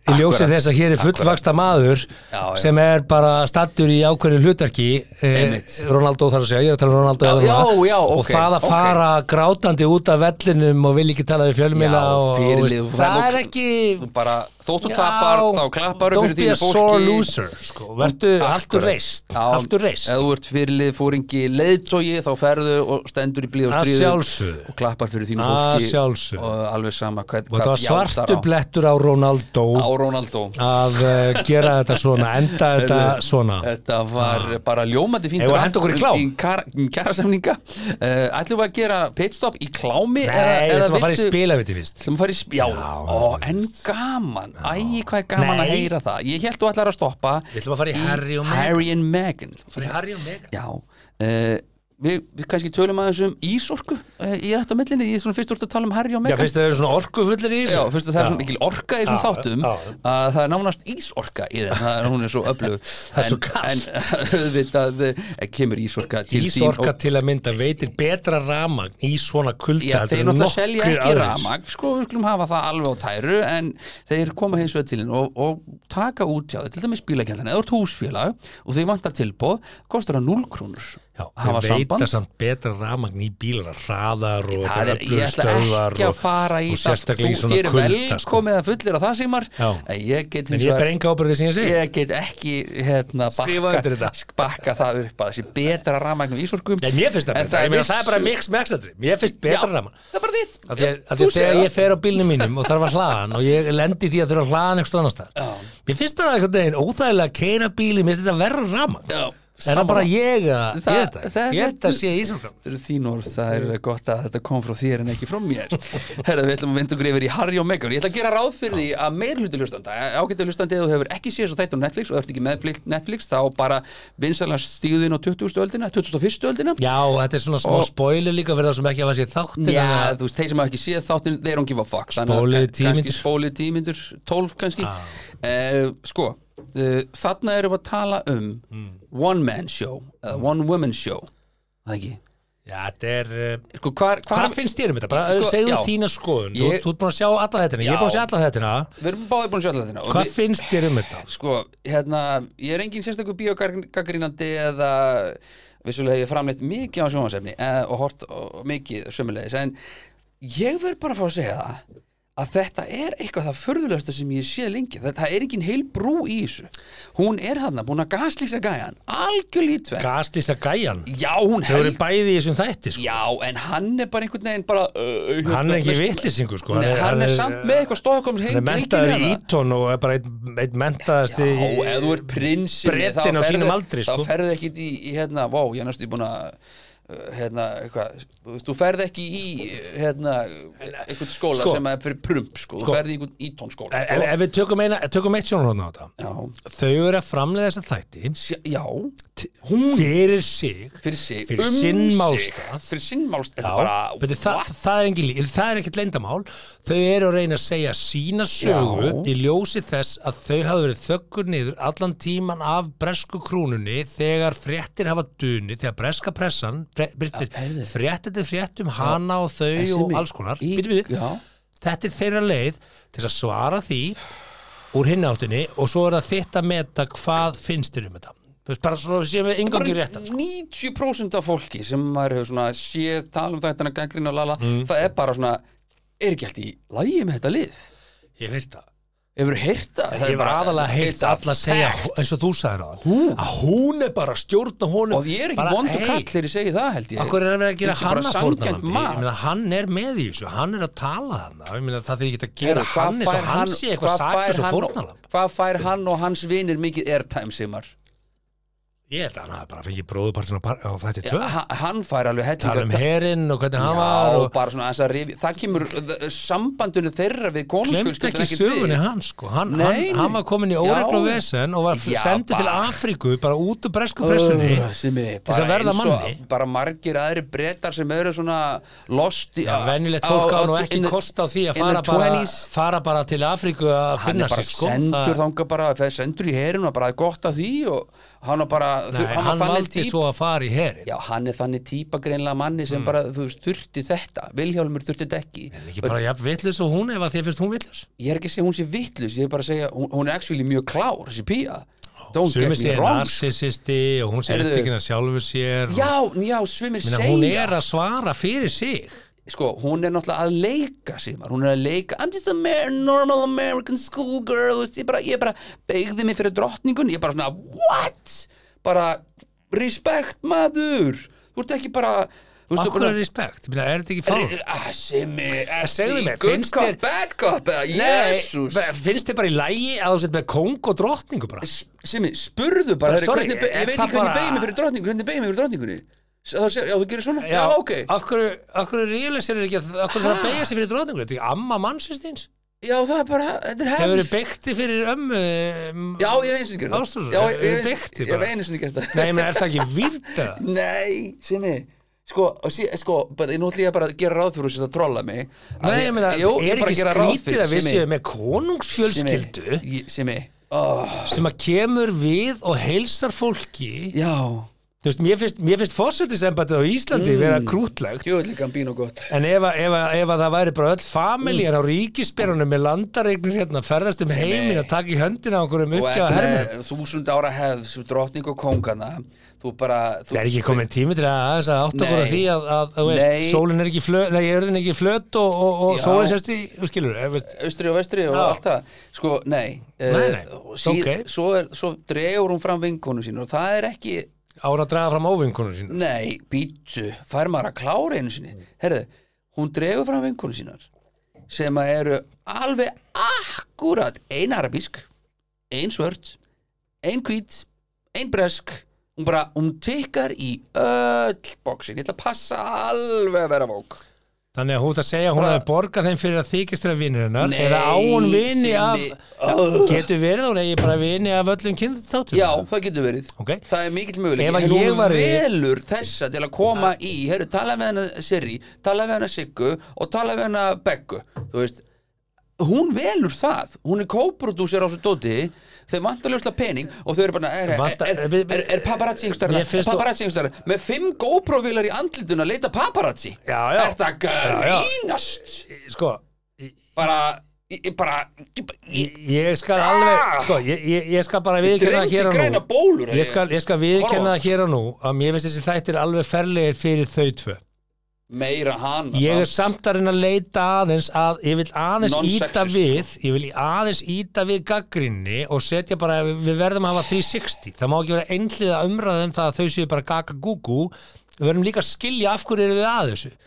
S3: í ljósið
S4: Akkurat,
S3: þess að hér er fullvaksta maður
S4: Já, já.
S3: sem er bara stattur í ákveðinu hlutarki eh,
S4: Einmitt.
S3: Ronaldo þarf að segja, ég er að tala um Ronaldo
S4: Já,
S3: eða Ronaldo.
S4: já, já,
S3: og
S4: ok,
S3: það að
S4: ok.
S3: fara grátandi út af vellinum og vil ekki tala við fjölmila
S4: Já,
S3: og, og
S4: fyrirlið,
S3: veist,
S4: þú ferð
S3: það
S4: og-
S3: er ekki
S4: Þú bara þóttu tapar, þá klappar
S3: don't
S4: fyrir
S3: be
S4: þínu
S3: a sore
S4: fólki
S3: loser sko. vertu haldur reist
S4: Já,
S3: haldur reist
S4: Ef þú ert fyrirlið fóringi leiðtogi þá ferðu og stendur í blíð og
S3: Að
S4: stríðu
S3: sjálfsögðu.
S4: og klappar fyrir þínu
S3: Að
S4: fólki
S3: sjálfsögðu.
S4: og alveg sama hvað,
S3: og það var
S4: játar
S3: svartu
S4: á-
S3: blettur á Ronaldo
S4: á Ronaldo
S3: að uh, gera þetta svona enda þetta svona
S4: Þetta var bara ljómandi
S3: Ah.
S4: fínt
S3: Eigum við að henda okkur í klám?
S4: klám Kærasemninga uh, Ætlum við að gera pitstop í klámi
S3: nei,
S4: eða,
S3: þetta
S4: eða
S3: var að fara í spilaviti fyrst
S4: Ætlum að fara í spjá
S3: Já,
S4: Ó, En gaman, æ, hvað er gaman
S3: Nei.
S4: að heyra það Ég held þú ætlar að stoppa
S3: Við ætlum að fara í Harry og Meghan.
S4: Harry and Meghan
S3: Harry og Meghan
S4: Já uh, við, við kannski tölum aðeins um ísorku uh, Ég er eftir á millinni, ég er svona fyrst úr að tala um Harry og
S3: Já,
S4: Meghan
S3: finnst það eru svona orkufullir í þessu?
S4: Já, fyrst að það er svona
S3: Já.
S4: mikil orka í svona
S3: Já,
S4: þáttum
S3: já.
S4: að það er nánast ísorka í þeim, það er, hún er svo öflugur Það
S3: er svo kalt.
S4: En auðvitað eh, kemur ísorka til þín
S3: Ísorka til að mynda veitir betra ramagn í svona kulda
S4: Já,
S3: heldur
S4: þeir
S3: en
S4: náttúrulega
S3: nokkrir
S4: selja ekki
S3: aðrir.
S4: ramagn, sko, við skulum hafa það alveg á tæru, en þeir koma hins vegar til henn og, og taka út hjá, þér, til dæmis bílakjaldan, eða þú ert húsfélag og þeir vantar tilbóð, kostar það 0 krónur
S3: Já,
S4: Hafa
S3: þeir veita
S4: samband.
S3: samt betra ramagn í bílar að hraðar og
S4: Það er, ég ætla
S3: öflugstöðvar
S4: ekki að
S3: og-
S4: fara
S3: og
S4: í það,
S3: sérstaklega í
S4: þú
S3: svona
S4: þér
S3: kulda sko.
S4: velkomið að fullir á það símar,
S3: Já.
S4: en ég get
S3: En ég
S4: hins
S3: ber
S4: vegar
S3: enga ábyrðið sem ég segi
S4: ég get ekki hérna,
S3: Skrifa undir
S4: bakka,
S3: þetta.
S4: bakka það upp að þessi betra rafmagnum ísorkum
S3: Nei, mér finnst það
S4: En
S3: betra, ég meina það er bara
S4: vissu-
S3: mix mexatri Mér finnst betra
S4: Já,
S3: ramagn
S4: það er bara þitt
S3: Af því að- af því
S4: Þú
S3: að þegar
S4: segir
S3: ég fer á bílnum mínum og þarf að hlaða hann og ég lendi í því að þurfa að hlaða hann eitthvað annars
S4: Já.
S3: þar Mér finnst það einhvern veginn óþægilega að keira bíli, mér finnst þetta verra ramagn
S4: Já,
S3: Er það
S4: sammála.
S3: bara ég að, ég
S4: Það-
S3: veit það,
S4: það-
S3: ég held að sé ísorka
S4: Það eru þín orð, það er gott að þetta kom frá þér en ekki frá mér Herra, við ætlum að vinda okkur yfir í Harry og Meghan Ég ætla að gera ráð fyrir því að meir hluti hlustanda Ágættu hlustandi eða þú hefur ekki séð svo þætt á Netflix og ert ekki með Netflix- Netflix þá bara vinsalega stíðu inn á 20. öldina 21. öldina
S3: Já, þetta er svona smá
S4: Og-
S3: spoiler líka fyrir það sem ekki hafa séð þáttin
S4: Já, þú veist, þeir sem hafa ekki séð þáttin They don't give a fuck Þannig að
S3: Spóluðu
S4: kann-
S3: tíu
S4: kannski
S3: mínútur.
S4: Spóluðu tímyndur, 12 kannski
S3: Ah.
S4: eh, Sko, eh, þarna erum við að tala um
S3: Hmm.
S4: One man show Eða one woman show Það ekki
S3: Já, þetta er uh,
S4: Sko, hvar, hvar,
S3: Hvað finnst þér um þetta? Bara
S4: Sko,
S3: sko, segðu
S4: já.
S3: þína skoðun
S4: Ég-
S3: þú, þú ert búin að sjá alla þetta Ég
S4: Já.
S3: er búin að sjá alla þetta
S4: Við erum báðið búin að sjálfa þetta
S3: Hvað finnst þér um þetta?
S4: Sko, hérna, ég er engin sérstakur bíógaggrínandi eða vissulega hef ég framleitt mikið á sjónvarsefni eh, og hort og mikið sömulegis en ég verð bara að fá að segja það að þetta er eitthvað það förðulegasta sem ég sé lengi, það, það er engin heil brú í þessu, hún er hann búin að gaslýsa gæjan, algjörlítið tvenn
S3: Gastlista gæjan
S4: já, hún
S3: Þau eru
S4: held
S3: bæði í þessum þætti sko.
S4: já, en hann er bara einhvern veginn bara, uh,
S3: Hann er ekki
S4: veist-
S3: vitlisingur sko.
S4: Nei, hann er samt með eitthvað stokkum
S3: Hann er mentaður í
S4: hérna.
S3: ítón og er bara einn einn mentaðasti
S4: Já,
S3: í-
S4: ef þú ert prinsinn
S3: Bretinn á sínum aldri, sko.
S4: Þá ferði ekki í, í hérna, vá, ég er næstu búin að uh, hérna, eitthvað, þú veist, þú ferði ekki í hérna, einhvern skóla
S3: Sko.
S4: sem er fyrir prump, sko, þú ferði í einhvern ítónskóla
S3: En
S4: sko.
S3: ef við tökum, eina, tökum eitt sjónarhóðna á þetta
S4: Já,
S3: Þau eru að framlega þessa þætti
S4: Sjá- já,
S3: fyrir sig
S4: fyrir sig
S3: Fyrir
S4: um
S3: sinn
S4: sig,
S3: málstað.
S4: Fyrir sinn
S3: Já,
S4: málstað, þetta bara
S3: betur, það,
S4: what?
S3: það er engin líf, það er ekkert leyndamál þau eru að reyna að segja sína sögu
S4: Já.
S3: í ljósi þess að þau hafa verið þöggur niður allan tíman af bresku krúnunni þegar fréttir hafa duni, þegar breska pressan fre, byrtir,
S4: heyrðu.
S3: fréttir til fréttum hana og þau
S4: Þessi
S3: og
S4: mig-
S3: alls konar
S4: í-
S3: Bíddu, bíddu.
S4: Já.
S3: þetta er þeirra leið til að svara því úr hinn áttinni og svo er það þitt að meta hvað finnst þér um þetta Þú veist, bara svo séum við
S4: bara
S3: yngangi réttan sko.
S4: 90% af fólki sem maður hefur svona séð tala um þetta gangrinn og lala,
S3: Mm.
S4: það er bara svona er ekki allt í lægi með þetta lið
S3: ég finnst það
S4: hefur heyrt það það
S3: Ég
S4: er
S3: var
S4: bara-
S3: aðalega heilt
S4: It's a
S3: alla að segja
S4: fact.
S3: eins og þú sagðir á hún. að hún er bara að stjórna honum
S4: og ég er ekkert vondur kall þegar ég segi það held ég
S3: Akkur er að vera að gera
S4: Þetta er
S3: hann
S4: bara
S3: að
S4: sanngjarnt
S3: fórnalambi
S4: mat.
S3: Ég meina, Hann er með í þessu, hann er að tala þannig Ég meina, það þegar ég get að
S4: Heyrðu,
S3: gera
S4: hvað
S3: hann eins
S4: fær
S3: og hann sé eitthvað
S4: hvað fær
S3: saklus og
S4: hann-
S3: fórnalamb
S4: hvað fær hann og hans vinir mikið airtime simar
S3: Ég held að hann hafi bara fengið bróðupartin á, par- á þætti tvö
S4: Ha- hann fær alveg
S3: Tala
S4: hellinga
S3: um herinn og hvernig hann var
S4: og
S3: og
S4: bara svona aðeins að rifi það kemur uh, sambandinu þeirra við
S3: glemt
S4: konusfjölskyldur
S3: ekki sögunni hans sko hann,
S4: Nei,
S3: hann,
S4: nei.
S3: hann var komin í óregl og
S4: Já.
S3: vesen og var
S4: Já,
S3: sendur til
S4: bara.
S3: Afríku bara út úr bresku pressunni
S4: sem er
S3: Til þess að
S4: Öh, bara
S3: verða
S4: eins og
S3: manni.
S4: bara margir aðri brettar sem eru svona lost í-
S3: Já, venjulegt
S4: á-
S3: fólk á
S4: á-
S3: nú ekki
S4: in the-
S3: kost á því að
S4: in
S3: fara
S4: the
S3: bara,
S4: 20s.
S3: fara bara til Afríku að
S4: hann
S3: finna
S4: er bara
S3: sig sko.
S4: sendur
S3: Það-
S4: þangað bara fer sendur í herinu og bara er gott að því og hann var bara þau-
S3: Nei,
S4: var
S3: hann
S4: þannig
S3: valdi
S4: típa-
S3: svo að fara í herin
S4: já, hann er þannig típa greinlega manni sem bara, þú veist, þurfti þetta Vilhjálmur þurfti þetta ekki
S3: Ekki bara jafn vitlis og hún ef að þér finnst hún vitlis
S4: ég er ekki að segja hún sé vittlust, ég er bara að segja hún, hún er actually mjög klár, þessi pía don't get
S3: Sumi
S4: me
S3: sé
S4: wrong
S3: narcissisti og hún sé
S4: Heyrðu.
S3: upptökin að sjálfur sér og-
S4: já, já, svimir
S3: Ég meina,
S4: segja
S3: Hún er að svara fyrir sig
S4: sko, hún er náttúrulega að leika símar, hún er að leika I'm just a mer- normal American schoolgirl veist, ég, bara, ég bara beigði mig fyrir drottningun ég bara svona, what? bara, respect maður þú ert ekki bara þú veist, þú
S3: Akkur er respekt, Ég meina, er þetta ekki fár?
S4: Ah, Simmi, ertu
S3: Segðu
S4: í
S3: mér,
S4: good
S3: finnst
S4: cop,
S3: þér-
S4: bad cop eða, jésús
S3: finnst þið bara í lægi að þú sett með kóng og drottningu bara?
S4: Simmi, spurðu bara,
S3: Bara,
S4: herri,
S3: sorry,
S4: hvernig, be-
S3: er
S4: ég veit
S3: það
S4: ekki hvernig
S3: bara-
S4: beigði mig fyrir drottningun hvernig beigði mig fyrir drottningunni S- þá segir, já þú gerir svona, já, ok
S3: Akkur, akkur realisir er ekki að, akkur þarf að beigja sig fyrir drottningu? Þetta er ekki amma mannsins þíns?
S4: já það er bara, þetta er hefð
S3: Hefur þið beigti fyrir ömmu? um,
S4: Já, ég hef einu sinni gert það
S3: Ástrós,
S4: Já,
S3: hefur
S4: ég- ég
S3: þið
S4: hef einu-
S3: beigti
S4: ég hef
S3: bara?
S4: einu sinni gert það
S3: Nei, menn er það ekki virta?
S4: Nei, sinni Sko, og sí, sko, bara, nú ætlum ég bara að gera ráð fyrir þess að trolla mig Að
S3: Nei,
S4: ég-
S3: ég meina,
S4: Jú, ég
S3: er
S4: bara
S3: ekki
S4: gera ráð fyrir,
S3: skrítið að við
S4: Simmi,
S3: séum með konungsfjölskyldu
S4: Simmi, ég- Simmi, oh,
S3: sem að kemur við og heilsar fólki
S4: já
S3: Þú veist, mér finnst, mér finnst fórsetisembætið á Íslandi
S4: Mm.
S3: vera krútlegt
S4: Jú, líka bín og gott
S3: En ef, að- ef, að- ef að það væri bara öll
S4: Mm.
S3: familjar á ríkisbyrjunum með landaregnur hérna, ferðast um heimin að taka í höndina á einhverjum
S4: Og
S3: uppgjáða hermum
S4: eftir þúsund ára hefð sem drottning og kóngana Þú bara þú
S3: Það er ekki komin tími til að aðeins að átta okkur
S4: Nei.
S3: að því að, að, að þú
S4: Nei.
S3: veist, sólin er ekki flöt, nei, jörðin er ekki flöt og, og, og
S4: Já.
S3: sólin sérst í, þú skilur, ef, veist,
S4: austri og vestri og
S3: Já.
S4: allt það sko, nei,
S3: Nei, nei,
S4: og síð,
S3: ok.
S4: svo, er, svo dregur hún fram vinkonu sín og það er ekki,
S3: ára að draga fram óvinkunum sín.
S4: nei, býtu fær maður að klára einu sinni herðu, hún dregur fram vinkonu sínar sem að eru alveg akkurat ein arabísk ein svört, ein hvít ein bresk hún bara, hún tikkar í öll bóksin, ég ætla að passa alveg að vera vók
S3: Þannig að hún ert að segja að hún
S4: Bara-
S3: hefði borgað þeim fyrir að þykist þeirra vinnir hennar
S4: Nei,
S3: eða á hún vini
S4: Simmi.
S3: af getur verið að hún eigi bara vini af öllum kynþáttum
S4: já, það getur verið
S3: Ok.
S4: Það er mikill möguleik
S3: Ef að
S4: En hún
S3: ég væri-
S4: velur þessa til að koma í Herru, tala við hana Siri, tala við hana Siggu og tala við hana Beggu Þú veist, hún velur það Hún er kóprodúsir á svo dóti Þau vantar ljóslega pening og þau eru bara Er,
S3: Vantar-
S4: er, er, er, er paparazzi yngstarna
S3: Mér finnst þú-
S4: Paparazzi yngstarna Með fimm GoPro-vilar í andlituna að leita paparazzi
S3: Já, já.
S4: Er það
S3: Já, já.
S4: grínast
S3: Sko,
S4: Bara, ég, ég bara ég, ég,
S3: ég, ég skal alveg
S4: Ah!
S3: sko, ég, ég, ég skal bara viðkenna
S4: dreymdi
S3: hér og
S4: græna
S3: nú
S4: bólur,
S3: Ég skal, ég skal viðkenna
S4: Horfa.
S3: það hér og nú að mér finnst þessi þættir alveg ferlegir fyrir þau tvö
S4: Meira hana
S3: Ég er samt að reyna að leita aðeins að ég vil aðeins
S4: Non-sexist,
S3: íta við ég vil aðeins íta við gaggrinni og setja bara, við verðum að hafa 360 það má ekki vera einhliða umræðum það að þau séu bara gaga gúgú við verðum líka að skilja af hverju eru þau að þessu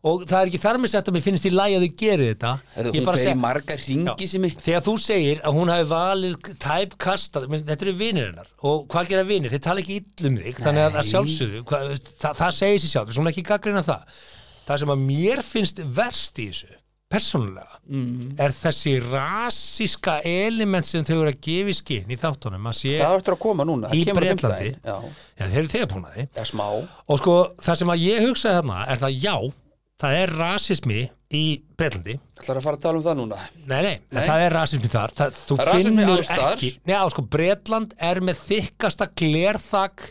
S3: og það er ekki þar með sett að mér finnst í lægi að þau gerir þetta
S4: Herðu,
S3: Ég
S4: Hún
S3: bara
S4: fer í
S3: seg-
S4: marga ringi sem ég
S3: Þegar þú segir að hún hafi valið tæpkasta, menn, þetta eru vinir hennar og hvað gera vinir, þeir tala ekki illum þig þannig að, að sjálfsögðu, hvað, þú veist, það, það segir sér sjálf, þess að hún er ekki gaggrina það það sem að mér finnst verst í þessu persónulega, er þessi rasíska element sem þau eru að gefa í skinn í þáttunum að sé,
S4: Það eftir að koma núna, það
S3: Í
S4: kemur á
S3: Bretlandi.
S4: fimmtudaginn. Já,
S3: já, þeir eru þegar búnaði
S4: það er smá
S3: og sko, það sem að ég hugsaði þarna er það já, það er rasismi í Breitlandi
S4: Það er að fara að tala um það núna
S3: Nei, nei,
S4: Nei.
S3: það er rasismi þar það, Þú
S4: Það er rasismi
S3: finnur
S4: alls staðar.
S3: ekki Nei, á, sko, Bretland er með þykkasta glerþak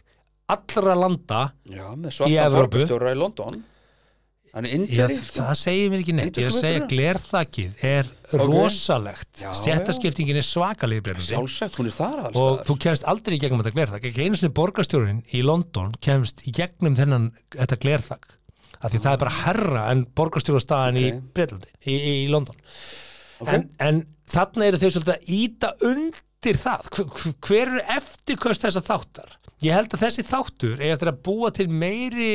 S3: allra landa
S4: Já, með
S3: Í
S4: svartan
S3: Evrópu.
S4: borgarstjóra í London Hann er
S3: Ég,
S4: indjari
S3: Það segir mér ekki neitt
S4: Lítur
S3: Ég er að
S4: sko
S3: segja
S4: betur.
S3: glerþakið er rosalegt
S4: Já,
S3: Stjættaskiptingin er svakalegi Bretlandi
S4: Sjálfsagt, hún er þar alls
S3: og
S4: staðar.
S3: þú kemst aldrei í gegnum þetta glerþak ekki einu sinni borgarstjórinn í London kemst í gegnum þennan þetta glerþak af því það er bara herra en borgarstjórastæðan
S4: Ok.
S3: í Breitlandi, í, í, í London en, en þarna eru þau svolítið að íta undir það Hver- hver hver eru eftirköst þessa þáttar ég held að þessi þáttur er eftir að búa til meiri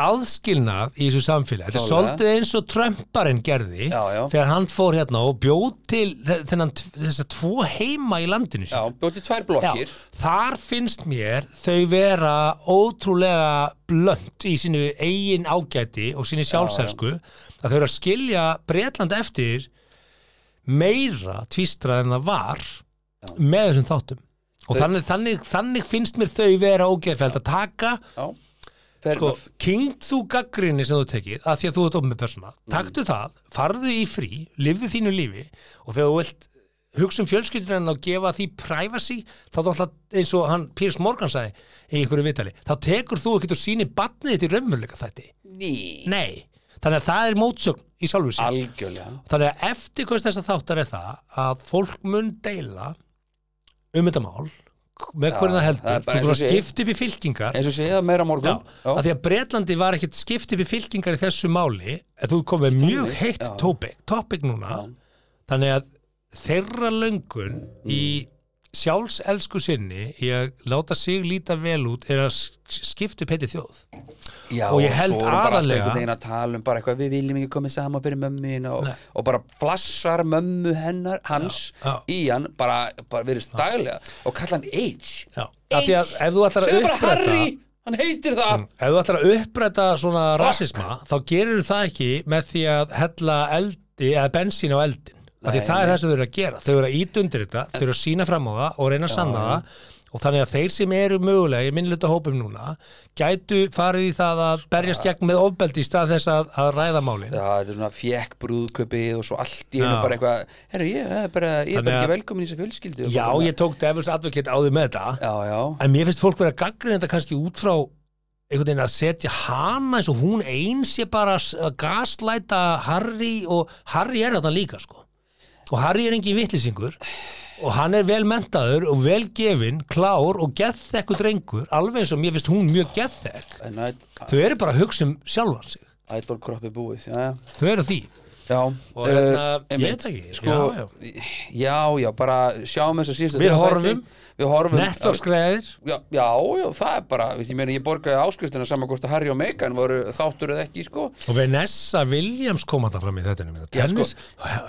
S3: aðskilnað í þessu samfélagi þetta er
S4: Klálega.
S3: svolítið eins og Trumparinn gerði
S4: Já, já.
S3: þegar hann fór hérna og bjóð til þe- þennan, t- þessa tvo heima í landinu sínu.
S4: Já, bjóti tvær blokkir
S3: þar finnst mér þau vera ótrúlega blönd í sínu eigin ágæti og sínu sjálfselsku að þau eru að skilja Bretland eftir meira tvístrað en það var með þessum þáttum og þannig, þannig, þannig finnst mér þau vera ógeðfæld að taka
S4: Já, fer
S3: sko, kynnt þú gaggrinni sem þú tekið að því að þú ert ofnir persóna,
S4: Mm.
S3: taktu það farðu í frí, lifðu þínu lífi og þegar þú vilt hugsa um fjölskyldunum og gefa því privacy þá þá alltaf eins og hann Piers Morgan sagði í einhverju vitali, þá tekur þú ekkert og sýni batnið þitt í raunveruleika þætti
S4: Ný,
S3: nei, þannig að það er mótsögn í sjálfu sér
S4: algjörlega
S3: þannig að eftir hvers þess að þáttar er það að fólk mun deila um þetta mál með hvernig það
S4: það er
S3: heldur,
S4: bara
S3: þú
S4: eins og
S3: voru að
S4: sé.
S3: skipta upp í fylkingar
S4: eins og segja meira á
S3: Já,
S4: morgun
S3: að því að Bretlandi var ekkit skipt upp í fylkingar í þessu máli en þú komið mjög heitt
S4: já.
S3: topic, topic núna
S4: Já.
S3: þannig að þeirra löngun í sjálfselsku sinni í að láta sig líta vel út er að sk- skipta upp heiti þjóð
S4: Já,
S3: Og ég held
S4: svo erum bara alltaf
S3: aðallega-
S4: einhvern veginn að tala um bara eitthvað við viljum ekki komið saman fyrir mömmuna og, og bara flassar mömmu hennar hans
S3: já.
S4: í hann bara, bara verið daglega og kalla hann H
S3: Já, af því að ef þú ætlar að Mm.
S4: segðu bara
S3: uppræta-
S4: Harry, hann heitir það
S3: ef þú ætlar að uppræta svona rasisma þá gerir það ekki með því að hella eldi, eða bensín á eldin af því
S4: Nei,
S3: það er
S4: nei.
S3: það sem þau eru að gera þau eru að íta undir þetta, þau eru að sína fram á það og reyna að sanna það og þannig að þeir sem eru mögulega í minnluta hópum núna gætu farið í það að berjast gegn með ofbeldi í stað þess að, að ræða málin
S4: Já, þetta er svona fjekk brúðköpið og svo allt í hennu
S3: Já.
S4: bara eitthvað Herru, ég er bara, ég er
S3: Þannig
S4: bara
S3: að-
S4: ekki velkomin í þessu fjölskyldu
S3: Já,
S4: Bara-
S3: ég tók Devils Advocate á því með þetta
S4: Já, já,
S3: en mér finnst fólk vera að gaggrina þetta kannski út frá einhvern veginn að setja hana eins og hún eins sé bara að s- að gaslæta Harry og Harry er þetta líka sko og Harry er engin vittlisingur og hann er vel mentaður og vel gefinn, klár og geðþekku drengur alveg eins og mér finnst hún mjög geðþekk
S4: en
S3: þau eru bara að hugsa um sjálfan sig
S4: ædolkroppi búið Já, já
S3: þau eru því
S4: Já,
S3: Og hérna,
S4: eh,
S3: ég
S4: einmitt,
S3: veit ekki,
S4: sko,
S3: já,
S4: já, já, bara sjáum þess að síðustu
S3: Við
S4: þrjá þætti.
S3: horfum.
S4: Við horfum
S3: Netflix-græðir
S4: já, já, já, það er bara, veist, ég meina ég borgaði áskriftina saman hvort að Harry og Meghan voru þáttur eða ekki, sko
S3: og Vanessa Williams kom hann fram í þetta
S4: Já, sko.
S3: tennis,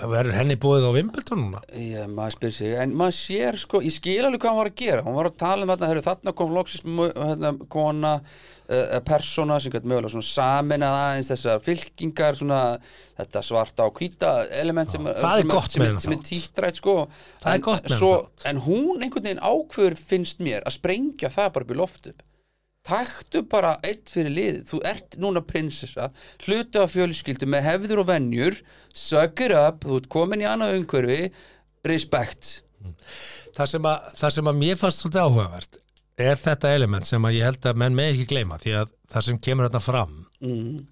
S3: verður henni búið á Wimbledon núna
S4: Já, maður spyr sig, en maður sér sko, ég skil alveg hvað hann var að gera, hún var að tala um þarna, heyrðu, þarna kom loksist hérna, kona, uh, persóna sem gætt mögulega svona saminað aðeins þessar fylkingar, svona þetta svarta og hvíta element sem,
S3: það er
S4: sem,
S3: gott
S4: sem,
S3: með
S4: sem,
S3: þennan
S4: sem er
S3: þátt.
S4: títrætt sko,
S3: Það er
S4: en,
S3: gott með
S4: svo,
S3: þennan
S4: en hún einhvern veginn ákveður finnst mér að sprengja það bara upp í loftu taktu bara eitt fyrir liðið þú ert núna prinsessa hluti af fjölskyldu með hefður og venjur suck it up, þú ert komin í annað umhverfi respect
S3: það sem, að, það sem að mér fannst svolítið áhugavert er þetta element sem að ég held að menn með ekki gleyma því að það sem kemur hérna fram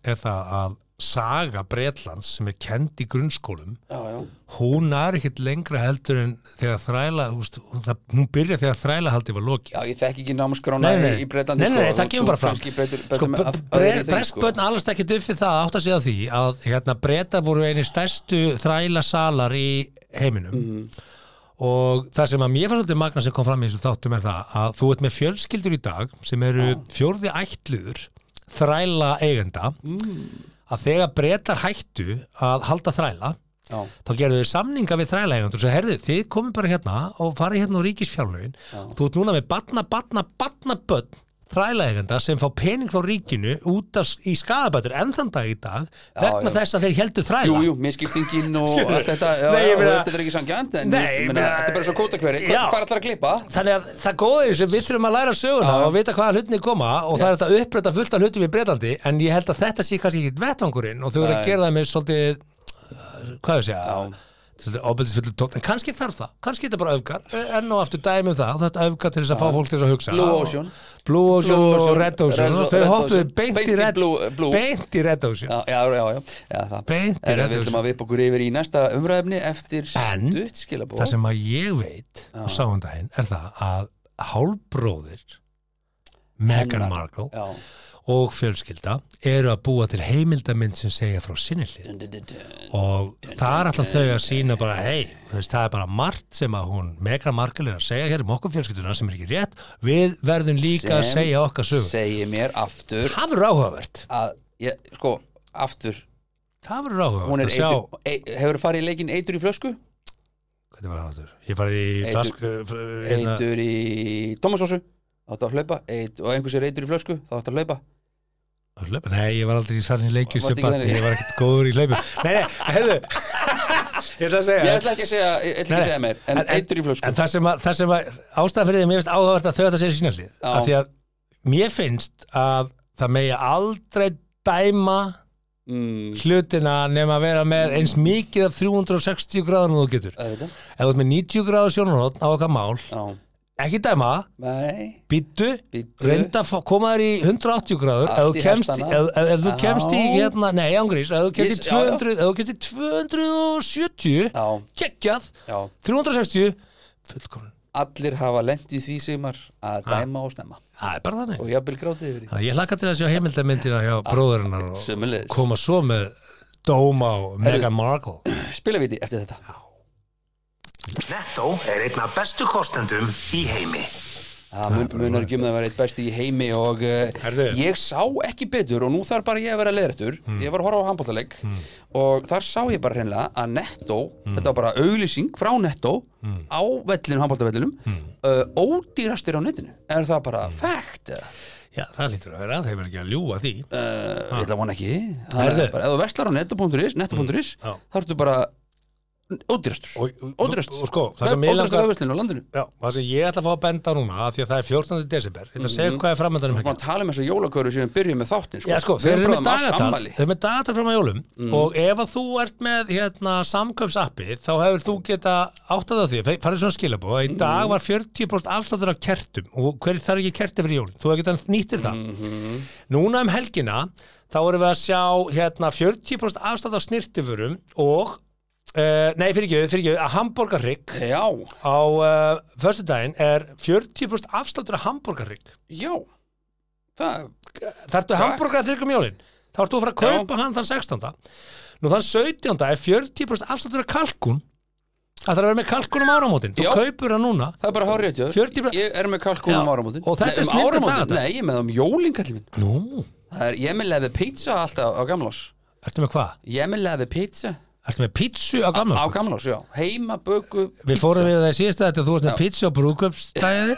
S3: er það að saga Bretlands sem er kend í grunnskólum
S4: já, já,
S3: hún er ekkit lengra heldur en þegar þræla úst, hún, það, hún byrja þegar þræla haldi var lokið
S4: já, ég þekk ekki námskrána í sko, Breitlandi
S3: nei, nei, nei, það kemur bara fram
S4: betur,
S3: sko,
S4: betur með að- öðru sko. í þeim,
S3: brest börn allast ekki duffið það að átta sig á því að hérna, breyta voru eini stærstu þræla salar í heiminum
S4: Mhm.
S3: og það sem að mér fannst svolítið magna sem kom fram í þessu þáttum er það að þú ert með fjölskyldur í dag sem eru fjórði ætluður þræla eigenda
S4: Mm.
S3: að þegar breytar hættu að halda þræla
S4: já,
S3: þá gerðu þau samninga við þrælægjandur og svo herðu, þið komið bara hérna og farið hérna úr ríkisfjárlögin og þú ert núna með batna, batna, batna börn þrælægjanda sem fá pening frá ríkinu út af, í skadabætur enn þann dag í dag vegna
S4: já.
S3: þess að þeir heldur þræla
S4: Jú, jú, miskiptingin og
S3: Skilur.
S4: allt þetta já,
S3: Nei, ég
S4: já, og
S3: meina-
S4: þetta er ekki sangjant en
S3: Nei,
S4: nei,
S3: ég
S4: meina,
S3: meina-
S4: þetta er bara svo kóta hverju
S3: Já.
S4: hvað, hvað ætlar að klippa?
S3: Þannig að það góða er sem við þurfum að læra söguna
S4: Já.
S3: og vita hvaða hlutinni koma og það er
S4: Yes.
S3: þetta uppbreyta fullt af hlutum í Breitlandi en ég held að þetta sé kannski ekki vettangurinn og þau eru að
S4: Nei.
S3: gera það með svolítið uh, hvað ég segja svolítið ofbeldisfullur tókn, en kannski þarf það kannski er þetta bara öfgar, enn og aftur dæmi um það þetta öfgar til þess að fá fólk til þess að hugsa
S4: Blue
S3: Og-
S4: Ocean.
S3: Blue Ocean
S4: Blue
S3: og
S4: Ocean,
S3: Red Ocean
S4: Red-
S3: og þau
S4: Red
S3: hoppuðu
S4: Ocean.
S3: beint
S4: Beint
S3: í
S4: í
S3: Red
S4: Blue- Blue.
S3: beint í Red Ocean
S4: Já, já, já, já, já það.
S3: Beint í
S4: Herra,
S3: Red
S4: Við ætlum
S3: Ocean.
S4: að vipa okkur yfir í næsta umræðefni eftir
S3: En,
S4: stutt skilabóð
S3: það sem að ég veit og sá um daginn er það að hálbróðir Meghan
S4: Hennar.
S3: Markle
S4: Já
S3: og fjölskylda eru að búa til heimildamind sem segja frá sinni hlið og þar alltaf þau að sína bara hei, þú veist, það er bara margt sem að hún Meghan Markle er að segja hér um okkur fjölskylduna sem er ekki rétt, við verðum líka að
S4: Sem
S3: segja okkar sögur
S4: Segir mér aftur
S3: það verður áhugavert
S4: að, ég, sko, aftur
S3: það verður
S4: Hún
S3: áhugavert
S4: er
S3: að sjá
S4: eitur, e, hefur farið í leikinn eitur í flösku?
S3: hvernig var það áttur, ég farið í
S4: Eitur-
S3: flask hérna,
S4: Eitur í Tómasósu Þá ætti að hlaupa eitur, og einhvers er eitur í flösku Þá ætti að hlaupa
S3: hlaupa- nei, ég var aldrei í farin í leikju sem
S4: Varstu ekki
S3: barn,
S4: þannig?
S3: ég var ekkert góður í hlaupum nei, nei, heyrðu ég ætla að
S4: Ég
S3: segja
S4: ætla ekki að segja, ég ætla ekki
S3: Nei,
S4: að segja mér En
S3: en- en-
S4: eitur í flösku
S3: En það sem að, það sem að ástæða fyrir því að mér finnst áhugavert að þau að það segja sína hlið
S4: Já.
S3: af því að mér finnst að það megi aldrei dæma
S4: mm,
S3: hlutina nema að vera með eins mikið af 360 gráðan og þú getur
S4: Það veit það
S3: ef þú ert með 90 gráður sjónarhótt á okkar mál
S4: Já
S3: ekki dæma,
S4: Nei
S3: býttu
S4: Bíddu.
S3: reynda að fá- koma þér í 180 gráður ef
S4: Allt
S3: þú
S4: í
S3: kemst,
S4: hestana.
S3: ef, ef, ef þú
S4: Já.
S3: kemst í hérna, nei ángrís, ef þú kemst
S4: Ég-
S3: í
S4: já, já.
S3: 200 ef þú kemst í 270
S4: Já,
S3: geggjað,
S4: já
S3: 360 fullkomun
S4: allir hafa lent í því sigmar að dæma og stemma
S3: það er bara þannig
S4: og jafnvel grátið yfir því
S3: Þannig að ég hlakka til að sjá heimildamindina hjá bróðurinnar og
S4: Sömuleiðis.
S3: koma svo með Dóma og Meghan Markle
S4: spilaviti eftir þetta
S1: Netto er einn af bestu kostendum í heimi.
S4: Það mun, munar ekki um það að vera eitt besti í heimi og uh,
S3: Herðu. Hmm.
S4: ég sá ekki betur og nú þarf bara ég að vera leðrættur ég var að horfa á handbóltaleg og þar sá ég bara hreinlega að Netto
S3: Hmm.
S4: þetta var bara auglýsing frá Netto á vellinum, handbóltavellinum
S3: Hmm.
S4: uh, ódýrastir á netinu er það bara fact eða?
S3: Já, það lítur að vera, þeim er ekki að ljúga því
S4: Uh, ég ætla að vona ekki Það
S3: Ah. Herðu. Mm,
S4: er bara, ef þú verslar á netto.is netto.is,
S3: Já.
S4: þá ertu bara ódýrastur,
S3: Og- og-
S4: ódýrast
S3: og sko, það sem mig
S4: ódýrasta
S3: langar-
S4: öðvöslinu á landinu
S3: Já, það sem ég ætla að fá að benda á núna af því að það er 14. desember, ég ætla að segja Mhm. hvað er framöndanum
S4: Má tala um þessa jólakörðu sem við byrjum með þáttin sko.
S3: Já, sko, þeir
S4: Við
S3: eru með
S4: bráðum á Mm.
S3: dagatal
S4: afmæli.
S3: Þeir eru með dagatal fram að jólum og ef að þú ert með hérna, samkaupsappi þá hefur þú geta áttað á því fe- farið svona skilabó að í
S4: Mm.
S3: dag var 40% afsláttur af kertum og hver þarf ekki kerti fyrir jólum þú hefur getað nýttir það
S4: Mhm.
S3: Núna um helgina þá erum við að sjá hérna, 40% afslátt af snirtifurum og Uh, nei, fyrir ekki, fyrir ekki, að hambúrgarrygg
S4: Já,
S3: á uh, föstudaginn er 40% afsláttur af hambúrgarrygg
S4: já Það,
S3: Þarftu hambúrgar að þyrkjum jólin Þá ert þú að fara að
S4: Já.
S3: kaupa hann þann 16. Nú þann 17. er 40% afsláttur af kalkun Það þarf að vera með kalkun um áramótin Þú
S4: Já.
S3: kaupur hann núna
S4: það er bara hár rétt hjá þér.
S3: 40%
S4: Ég er með kalkún um
S3: Já,
S4: áramótin
S3: og þetta
S4: Nei,
S3: er
S4: um
S3: snillt
S4: áramótin.
S3: dagatal.
S4: Nei, ég er með um jólin kallið minn
S3: Nú,
S4: Það er, ég er með lefið pizza alltaf á gamlás
S3: ertu með hvað?
S4: Ég er með lefið pizza
S3: Ertu með pítsu á gamla sko?
S4: á gamlás, já Heima böku
S3: Við fórum við það í síðasta þetta Þú varst með
S4: Já.
S3: pítsu á brúköpstæði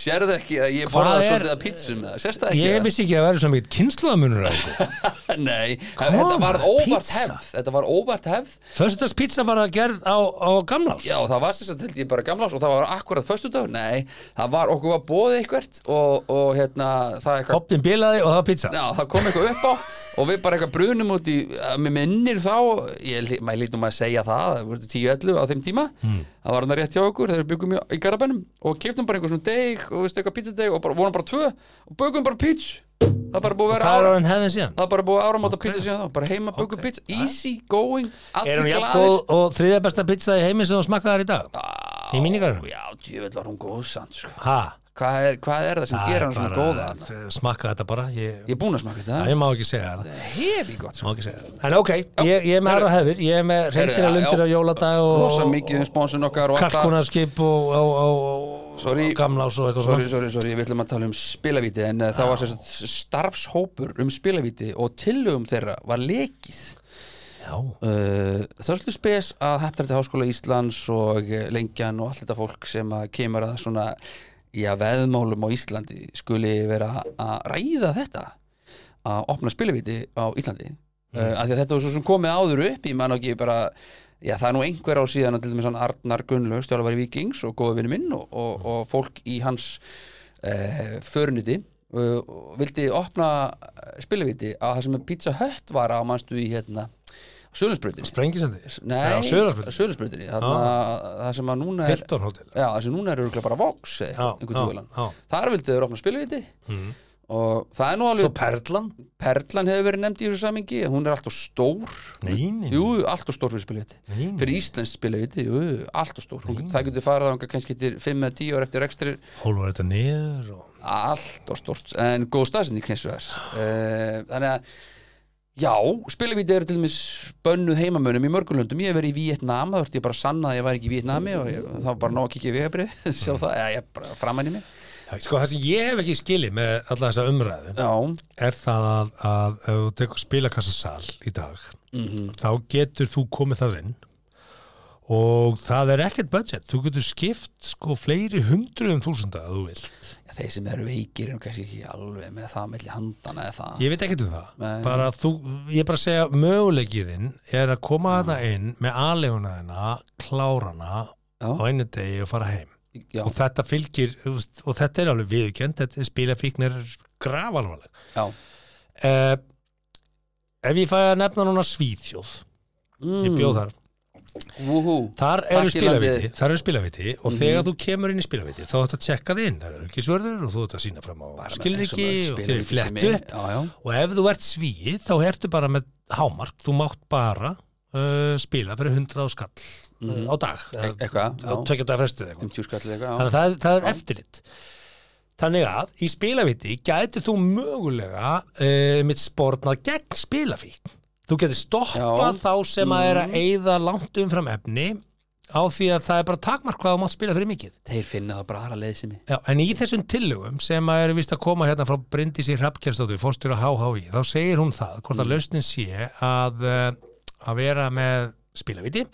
S4: Sérðu ekki að ég
S3: Hvað
S4: borðaði
S3: er-
S4: svolítið að pizzum með það Sérstu það
S3: Ég
S4: ekki?
S3: vissi ekki að vera svo mikið kynnslóðamunur
S4: Ég, Nei,
S3: Come
S4: þetta
S3: on,
S4: var óvart
S3: pizza.
S4: hefð Þetta var óvart hefð
S3: Föstudars pítsa bara gerð á, á gamla
S4: Já, það var sérst að held ég bara gamlás og það var akkurat föstudagur, nei, það var okkur var bóðið eitthvert og, og hérna það eitthvað
S3: Opnin bilaði og það var pítsa
S4: Já, það kom eitthvað upp á og við bara eitthvað brunum út í að mér minnir þá, ég, maður lítum að segja það það voru 10-11 á þeim tíma
S3: Hmm.
S4: það var hann rétt hjá okkur, þegar við byggum í, í garabænum og keftum bara einhver svona deg og veistu eitthvað pizzadeg og bara, vorum bara tvö og bögum bara pizz það er bara búið að vera
S3: Það er
S4: ára
S3: á henn hefðin síðan
S4: það er bara búið að áramóta pizza síðan þá, bara heima bögum pizza, easy going
S3: Er
S4: allir
S3: hún jafn
S4: glaðir
S3: góð og þriðja besta pítsa í heimi sem þú smakkaðar í dag? Í mínigarum?
S4: Já, djöfell var hún góðsand sko.
S3: Ha?
S4: hvað, er, hvað er það sem
S3: Það
S4: gerir
S3: er
S4: hann svona
S3: bara-
S4: góða þarna?
S3: þið- Smakka þetta bara Ég,
S4: Ég er búin að smaka
S3: Æ,
S4: þetta
S3: ég má ekki segja það
S4: Hefi gott sko.
S3: Má ekki segja það En ok, ég, ég er með
S4: Herru.
S3: aðra hefur Ég er með reyndir
S4: já,
S3: að lundir
S4: já.
S3: á jóladag og,
S4: Rosa mikið um spónsun okkar og allt það.
S3: Kalkunarskip og, og, og, og
S4: Sorry.
S3: gamlás og eitthvað
S4: Sorry,
S3: svona
S4: sorry, sorry, við ætlum að tala um spilavíti en uh, það var sérst starfshópur um spilavíti og tillögum þeirra var lekið
S3: Já,
S4: uh, Þörslu spes að heftarði háskóla Íslands og uh, lengjan og allt þetta fólk sem að kemur að svona í að veðmálum á Íslandi skuli vera að ræða þetta að opna spilavíti á Íslandi
S3: Mm.
S4: uh, af því að þetta var svo sem komið áður upp ég man ekki bara Já, það er nú einhver á síðan að til dæmis hann Arnar Gunnlaug, stjálfari Víkings og góða vinni minn og,
S3: Mm.
S4: og, og fólk í hans uh, förniti uh, vildi opna spilaviti á það sem Pizza Hut var á mannstu í hérna Sjölusbrautinni
S3: sprengisendi
S4: Nei,
S3: á Suðurlandsbrautinni.
S4: Suðurlandsbrautinni, þarna- það sem að núna er
S3: Hilton Hotel
S4: Já, það sem núna er örugglega bara Vox eh, eða eitthvað, einhver tígulan
S3: já.
S4: Þar vildu þeir opna spilaviti og það er
S3: Mhm.
S4: nú
S3: Svo
S4: alveg
S3: Perlan
S4: Perlan hefur verið nefnd í þessu samingi hún er alltaf stór
S3: Nei, nei.
S4: Jú, alltaf stór fyrir spilaviti
S3: Nei.
S4: fyrir Íslands spilaviti, jú, alltaf stór Hún- það getur farið á kannski eftir 5 eða 10 ára eftir rekstri
S3: Hólvar þetta niður og...
S4: allt og stort en góð staðsending eins og þess Eh, þannig að já, spilavíti eru til dæmis bönnuð heimamönum í mörgulöndum, ég hef verið í Vietnam þá vart ég bara að sanna að ég var ekki í Vietnami og ég, þá var bara nóg að kíkja í vegabrið
S3: Mm.
S4: sjá það, eða ég bara framann í mig
S3: Já, Sko, það sem ég hef ekki skilið með alla þessa umræðu
S4: já,
S3: er það að, að ef þú tekur spilakassasal í dag þá getur þú komið þar inn og það er ekkert budget þú getur skipt sko fleiri hundruðum þúsunda að þú vilt
S4: já, þeir sem eru veikir eru kannski ekki alveg með það melli handana eða það
S3: ég veit ekkert um það
S4: Nei.
S3: bara þú, ég er bara að segja möguleikiðin er að koma þarna inn með aðleguna þina, klárana
S4: Já.
S3: á einu degi og fara heim
S4: já,
S3: og þetta fylgir þú veist, og þetta er alveg viðkjönd, þetta er spilafíknir grafalvarleg
S4: já,
S3: uh, ef ég fæ að nefna núna Svíþjóð ég
S4: Mm.
S3: bjóð þar
S4: vúhú
S3: Þar eru
S4: Takk í landi. Mhm.
S3: spilaviti, þar eru spilaviti og þegar þú kemur inn í spilaviti þá ætti að tjekka þið inn, það eru ekki svörður og þú ætti að sína fram á skilriki og þeir eru flett upp
S4: já, já,
S3: og ef þú ert svíi þá ertu bara með hámark, þú mátt bara uh, spila fyrir 100 skall mm. á dag
S4: E- eitthvað,
S3: á
S4: já.
S3: tvekja dag frestið eitthvað
S4: um tjúskallið eitthvað
S3: þannig að það, er- það er eftirlit þannig að í spilaviti gætir þú mögulega uh, mitt spórnað gegn spilafík þú getur stoppað
S4: Já.
S3: þá sem að er að eyða langt umfram efni á því að það er bara takmark hvað þú mátt spila fyrir mikið
S4: Þeir finna það bara aðra leiðsimi
S3: Já, en í þessum tillögum sem að eru vist að koma hérna frá Bryndísi Hrafnkjærstóttur, fórstjóra HHI, þá segir hún það, hvort
S4: Mm.
S3: að lausnin sé að, eh, að vera með spilaviti,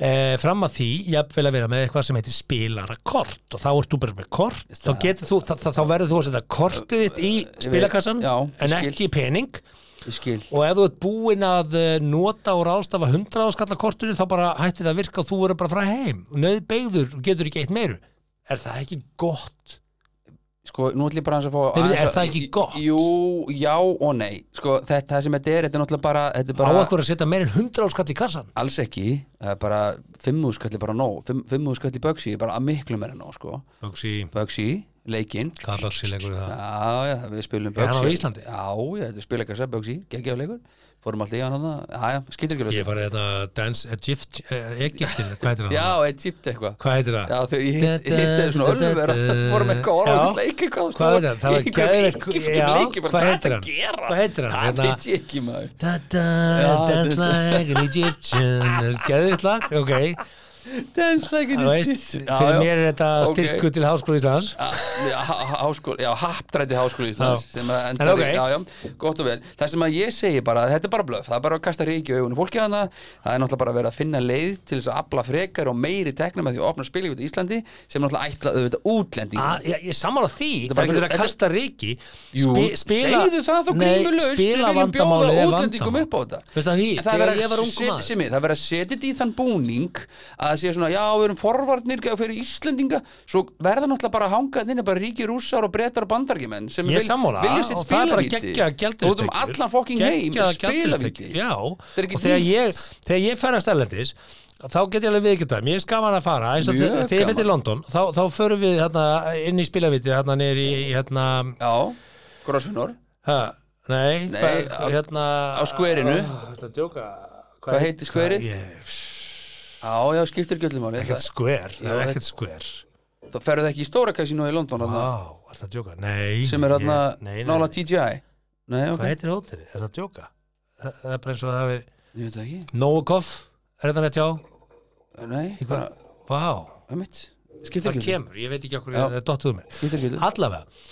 S3: eh, fram að því, jafnvel að vera með eitthvað sem heitir spilarakort og þá ert þú bara með kort, þá, getur þú, þá, þá verður þú að setja kortið þitt í spilakassan,
S4: Eh, Já,
S3: en
S4: skil.
S3: ekki pening
S4: Ég skil
S3: og ef þú ert búinn að eh, nota og ráðstafa 100 áskalla kortinu þá bara hættir það að virka og þú verður bara frá heim nöðbeigður og getur ekki eitt meiru er það ekki gott?
S4: Sko, nú ætlum ég bara aðeins að fá
S3: Nei,
S4: aðeins
S3: er
S4: að-
S3: það ekki gott?
S4: Jú, já og nei Sko, þetta það sem þetta er, þetta er náttúrulega bara, þetta er
S3: Á
S4: bara
S3: okkur að setja meir en 100 áskall í kassan
S4: Alls ekki, það er bara Fimmuðskall er bara nóg, Fimm- fimmuðskall í Bögsi er bara að miklu meira en nóg, sko
S3: Böksi,
S4: Bögsi, leikinn
S3: hvað Böksi lengur er það?
S4: Já, já, við spilum
S3: Er hann
S4: Bögsi
S3: á Íslandi?
S4: Já, já, þetta er spilakassa Bögsi, geggjáleikur Fórum alltaf í hann hann, já, já, skiltir ekki alveg
S3: Ég farið þetta Dance Egypt Egyptin, hvað heitir
S4: Já,
S3: það?
S4: eitt típt eitthvað
S3: Hvað heitir
S4: Já,
S3: það?
S4: þegar ég hitt- hitti svona ölver fórum eitthvað orðum
S3: Já.
S4: að leika hvað
S3: Hvað heitir hann? Það var geðveikt- já,
S4: leiki, bara
S3: hvað
S4: hvað
S3: heitir
S4: heitir
S3: hann?
S4: að gera
S3: Hvað heitir hann?
S4: Það
S3: Hérna-
S4: veit ég ekki maður
S3: Da da,
S4: Já,
S3: dance
S4: þetta-
S3: like an Egyptian Geðvitt lag, ok
S4: Dance like
S3: Þú veist, fyrir mér er þetta
S4: Ok.
S3: styrku til Háskóla Íslands
S4: Háskóli, já, haptræti háskóli Íslands
S3: Já.
S4: sem að
S3: En
S4: endar í,
S3: ok.
S4: já, já, gott og vel Það sem að ég segi bara, þetta er bara blöf það er bara að kasta reiki á augunum fólki hana það er náttúrulega bara að vera að finna leið til þess að afla frekar og meiri teknum að því að opna spili í Íslandi sem náttúrulega ætla auðvitað útlending
S3: Að, Ah, ég, ég sammála því,
S4: er
S3: það
S4: bara
S3: er ekki
S4: fyrir-
S3: verið að kasta reiki
S4: Jú, segðu það þá grímulaust við
S3: spila
S4: viljum bjóða
S3: vandamálið er
S4: útlendingum
S3: vandamál.
S4: upp á þetta
S3: Veistu það því,
S4: En
S3: þegar
S4: verið að
S3: ég var ungu
S4: set-
S3: maður
S4: Simmi, það verður að setja þetta í þann búning að það sé svona, já, við erum forvarnir fyrir Íslendinga, svo verða náttúrulega bara að hanga þinni bara ríki rússar og brettar og bandargimenn sem
S3: Ég er sammála
S4: vilja sér
S3: og það er bara
S4: spilavíti
S3: geggja
S4: Þú út um allan fokking heim spilavíti
S3: Já,
S4: Það er ekki
S3: og þegar
S4: nýtt.
S3: ég, þegar ég fer að stærlendis þá get ég alveg viðkjönd það, mér er skaman að fara eins og
S4: Mjög
S3: þegar þegar ég fyrir
S4: gaman.
S3: til London þá, þá förum við hérna, inn í spilaviti hérna niður í hérna,
S4: Já, grósfinor,
S3: ha, nei,
S4: Nei,
S3: hvað-
S4: á-
S3: hérna
S4: á skverinu.
S3: Þetta er djóka
S4: Hvað heitir skverið?
S3: Ég-
S4: já, já, skiptir göllumáli
S3: Ekkert skver, það er
S4: Já,
S3: ekkert skver
S4: Það ferðu ekki í stóra kasinu í London
S3: Vá,
S4: þarna,
S3: er það að djóka? Nei
S4: sem er þarna
S3: Ah, ég- nei, nei,
S4: nála
S3: nei.
S4: TGI Nei, ok,
S3: Hvað heitir hótelið? Er það að djóka? Það það er bara eins og það er
S4: ég veit það ekki
S3: Novikov, er þetta með tjá?
S4: Nei, bara,
S3: Vá,
S4: um mitt Skiptir
S3: það
S4: ekki
S3: kemur, ég veit ekki okkur
S4: Já.
S3: það er dottuð mér
S4: Skiptir ekki Mhm.
S3: Allavega,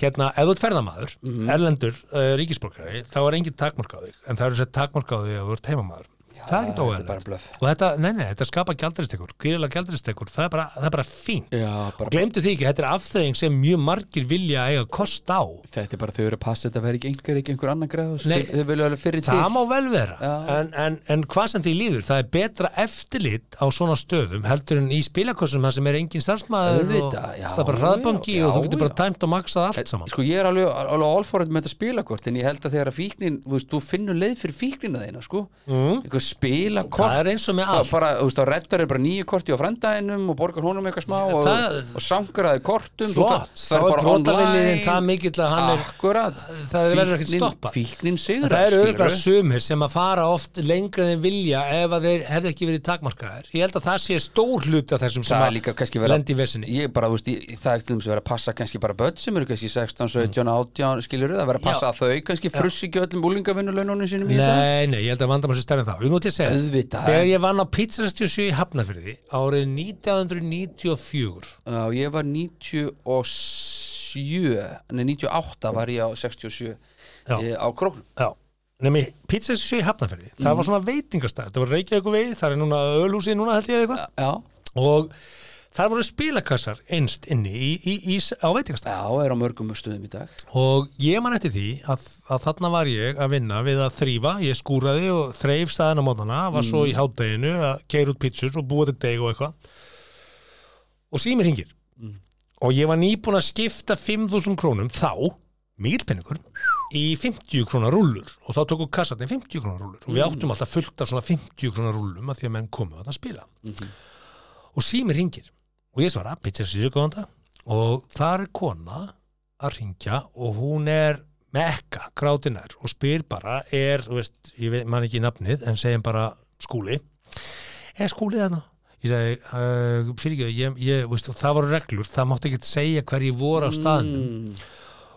S3: hérna, ef þú ert ferðamaður erlendur, uh, ríkisborgari þá er engin takmörk á þig, en það eru sér takmörk á þig ef þú ert heimamaður Það er ekki
S4: Þetta er
S3: óæðilegt
S4: bara blöf
S3: og þetta, nei, nei, þetta skapa gjaldristekur gríðlega gjaldristekur, það er bara, það er bara fínt
S4: Já, bara
S3: og glemdu því ekki, þetta er afþreying sem mjög margir vilja eiga kost á
S4: Þetta er bara þau eru að passa þetta verði ekki einhver ekki einhver annan græð
S3: Nei.
S4: þau vilja alveg fyrir til
S3: það má vel vera
S4: Já.
S3: en, en, en hvað sem því líður, það er betra eftirlit á svona stöðum heldur en í spilakossum það sem er engin starfsmæður og
S4: Auðvitað, já,
S3: það er bara hraðbanki
S4: já,
S3: og þú getur
S4: já.
S3: bara tæmt og maksað allt saman
S4: Sko ég er alveg, alveg allforrið með þetta spilakort en ég held að þegar að fíknin, þú veist, þú finnur leið fyrir fíknina þeina, sko mm. eitthvað spilakort
S3: það er eins og með allt
S4: bara, þú veist, þá reddar er bara nýju korti á frændaðinum og borgar honum eitthvað smá og,
S3: það-
S4: og sangraði kortum
S3: flott, þá er brotaviliðin það mikill að hann er
S4: Akkurat,
S3: það verður ekkert stoppað.
S4: Fíknin
S3: En
S4: sigur
S3: Það eru örgulega sumir sem að fara oft lengra en þeir vilja ef að þeir hefði ekki verið takmarkaðir. Ég held að það sé stór hluti af þessum sem
S4: það er
S3: að
S4: líka kannski verið
S3: lendi í vesinni.
S4: ég bara, þú veist, ég, það er til þess að vera að passa kannski bara börn sem eru kannski 16, 17, 18 skilur það vera að passa
S3: Já.
S4: að þau kannski frussi ekki öllum úlingavinnulaununum sínum í þetta
S3: Nei, nei, ég held að vandamál sér stærri en það. Ég múti að segja,
S4: Auðvitað.
S3: þegar ég vann á Pizzastjósi í Hafnafyrði árið 1994,
S4: Já, ég var 97 nei 98 var ég á 67
S3: Já.
S4: ég, eh, á króknum
S3: já, Mhm. nemi Pizzastjósi í Hafnafyrði, það var svona veitingastæð, það var Reykjavík og veið, það er núna ölhúsið núna held ég eða eitthvað,
S4: Já,
S3: og þar voru spilakassar einst inni í, í, í, á veitingastæð.
S4: já, er á mörgum stöðum í dag
S3: og ég man eftir því að, að þarna var ég að vinna við að þrýfa ég skúraði og þreif staðan á mótana var svo í hádeginu að keira út pítsur og búa til deg og eitthvað og símir hringir og ég var nýbúin að skipta 5.000 krónum þá, mikill penningur í 50 krónar rúllur og þá tóku kassatni 50 krónar rúllur og við áttum alltaf fullt af svona 50 krónar rúllum að því að menn komu að það spila og símir hringir og ég svara, pizza sísu góðan dag og þar er kona að ringja og hún er mekka grátinær og spyr bara er, þú veist, ég veit, man ekki nafnið en segjum bara skúli eða skúli þarna ég sagði, uh, fyrir ekki, ég, ég, veist, það voru reglur það mátti ekki segja hverjir voru á
S4: Mm.
S3: staðnum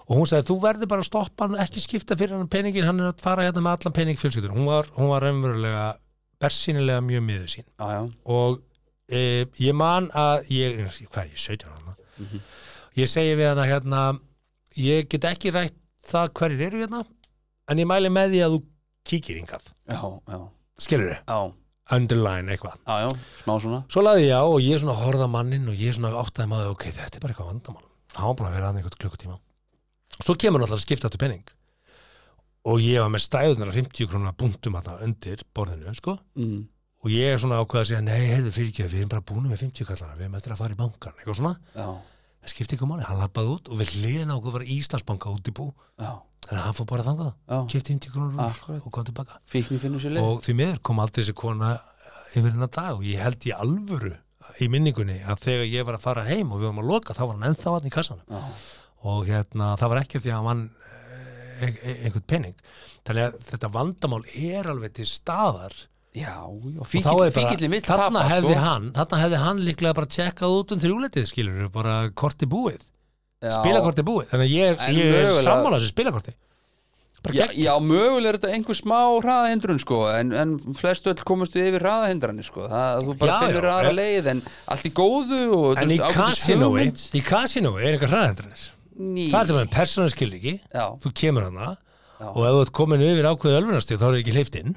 S3: og hún sagði, þú verður bara að stoppa hann ekki skipta fyrir hann peningin, hann er að fara hérna með allan pening fjölskyldur, hún var, hún var raunverulega bersýnilega mjög miður sín
S4: Já, já,
S3: og e, ég man að ég, hvað er ég, 17 ára ég segi við hana hérna ég get ekki rætt það hverjir eru hérna en ég mæli með því að þú kíkir hingað
S4: já, já,
S3: skilur þið,
S4: já,
S3: underline eitthvað
S4: já, já, smá svona
S3: svo laði ég á og ég svona horfða mannin og ég svona áttaði maður, ok, þetta er bara eitthvað vandamál hann var búin að vera hann einhvern klukkutíma svo kemur náttúrulega að skipta áttu penning og ég var með stæðunar 50 krónar búntum að undir borðinu, sko
S4: mm.
S3: og ég er svona ákveð að segja nei, heyrðu fyrir ekki, við erum bara búin með 50 kallara við erum eftir að fara í bankan, eitthvað svona
S4: Já,
S3: það skipti ekki máli, hann lappaði út og við hliðin á okkur var Íslandsbanka út í bú
S4: já,
S3: þannig að hann fór bara þangað,
S4: Já.
S3: kipti 50 krónur
S4: Akkúrat.
S3: og kom tilbaka
S4: fíknir finnur sér leið
S3: og því miður kom aldrei þessi kona eh, yfir hennar dag og ég held í alvöru eh, í minningunni að þegar ég var að fara heim og við varum að loka, þá var hann ennþá hann í kassanum
S4: Já,
S3: og hérna, það var ekki því að hann eh, ein- ein- einhvern pening þannig að þetta vandamál er alveg til staðar
S4: já, já,
S3: og þá er
S4: fíkillin
S3: bara,
S4: fíkillin vill
S3: þarna
S4: tapa
S3: hefði
S4: sko.
S3: hann þarna hefði hann líklega bara tjekkað út um þrjúletið skilur, bara korti búið
S4: Já.
S3: spilakorti búið, þannig að ég
S4: En
S3: er, ég er
S4: mögulega-
S3: sammála þessu spilakorti bara
S4: Já,
S3: gegn,
S4: já, mögulega er þetta einhver smá hraðahindrun sko, en, en flest öll komust við yfir hraðahindrani sko, það, þú bara
S3: Já,
S4: finnur
S3: já,
S4: aðra
S3: en-
S4: leið en allt í góðu og
S3: en í
S4: þetta er ágætis
S3: kasinói
S4: hugmynd.
S3: í kasinói er einhver hraðendranir
S4: Ný.
S3: það er það með persónu skilriki
S4: Já,
S3: þú kemur hana
S4: Já.
S3: og ef þú ert komin yfir ákveðið ölfunarstíð þá er ekki hleyft inn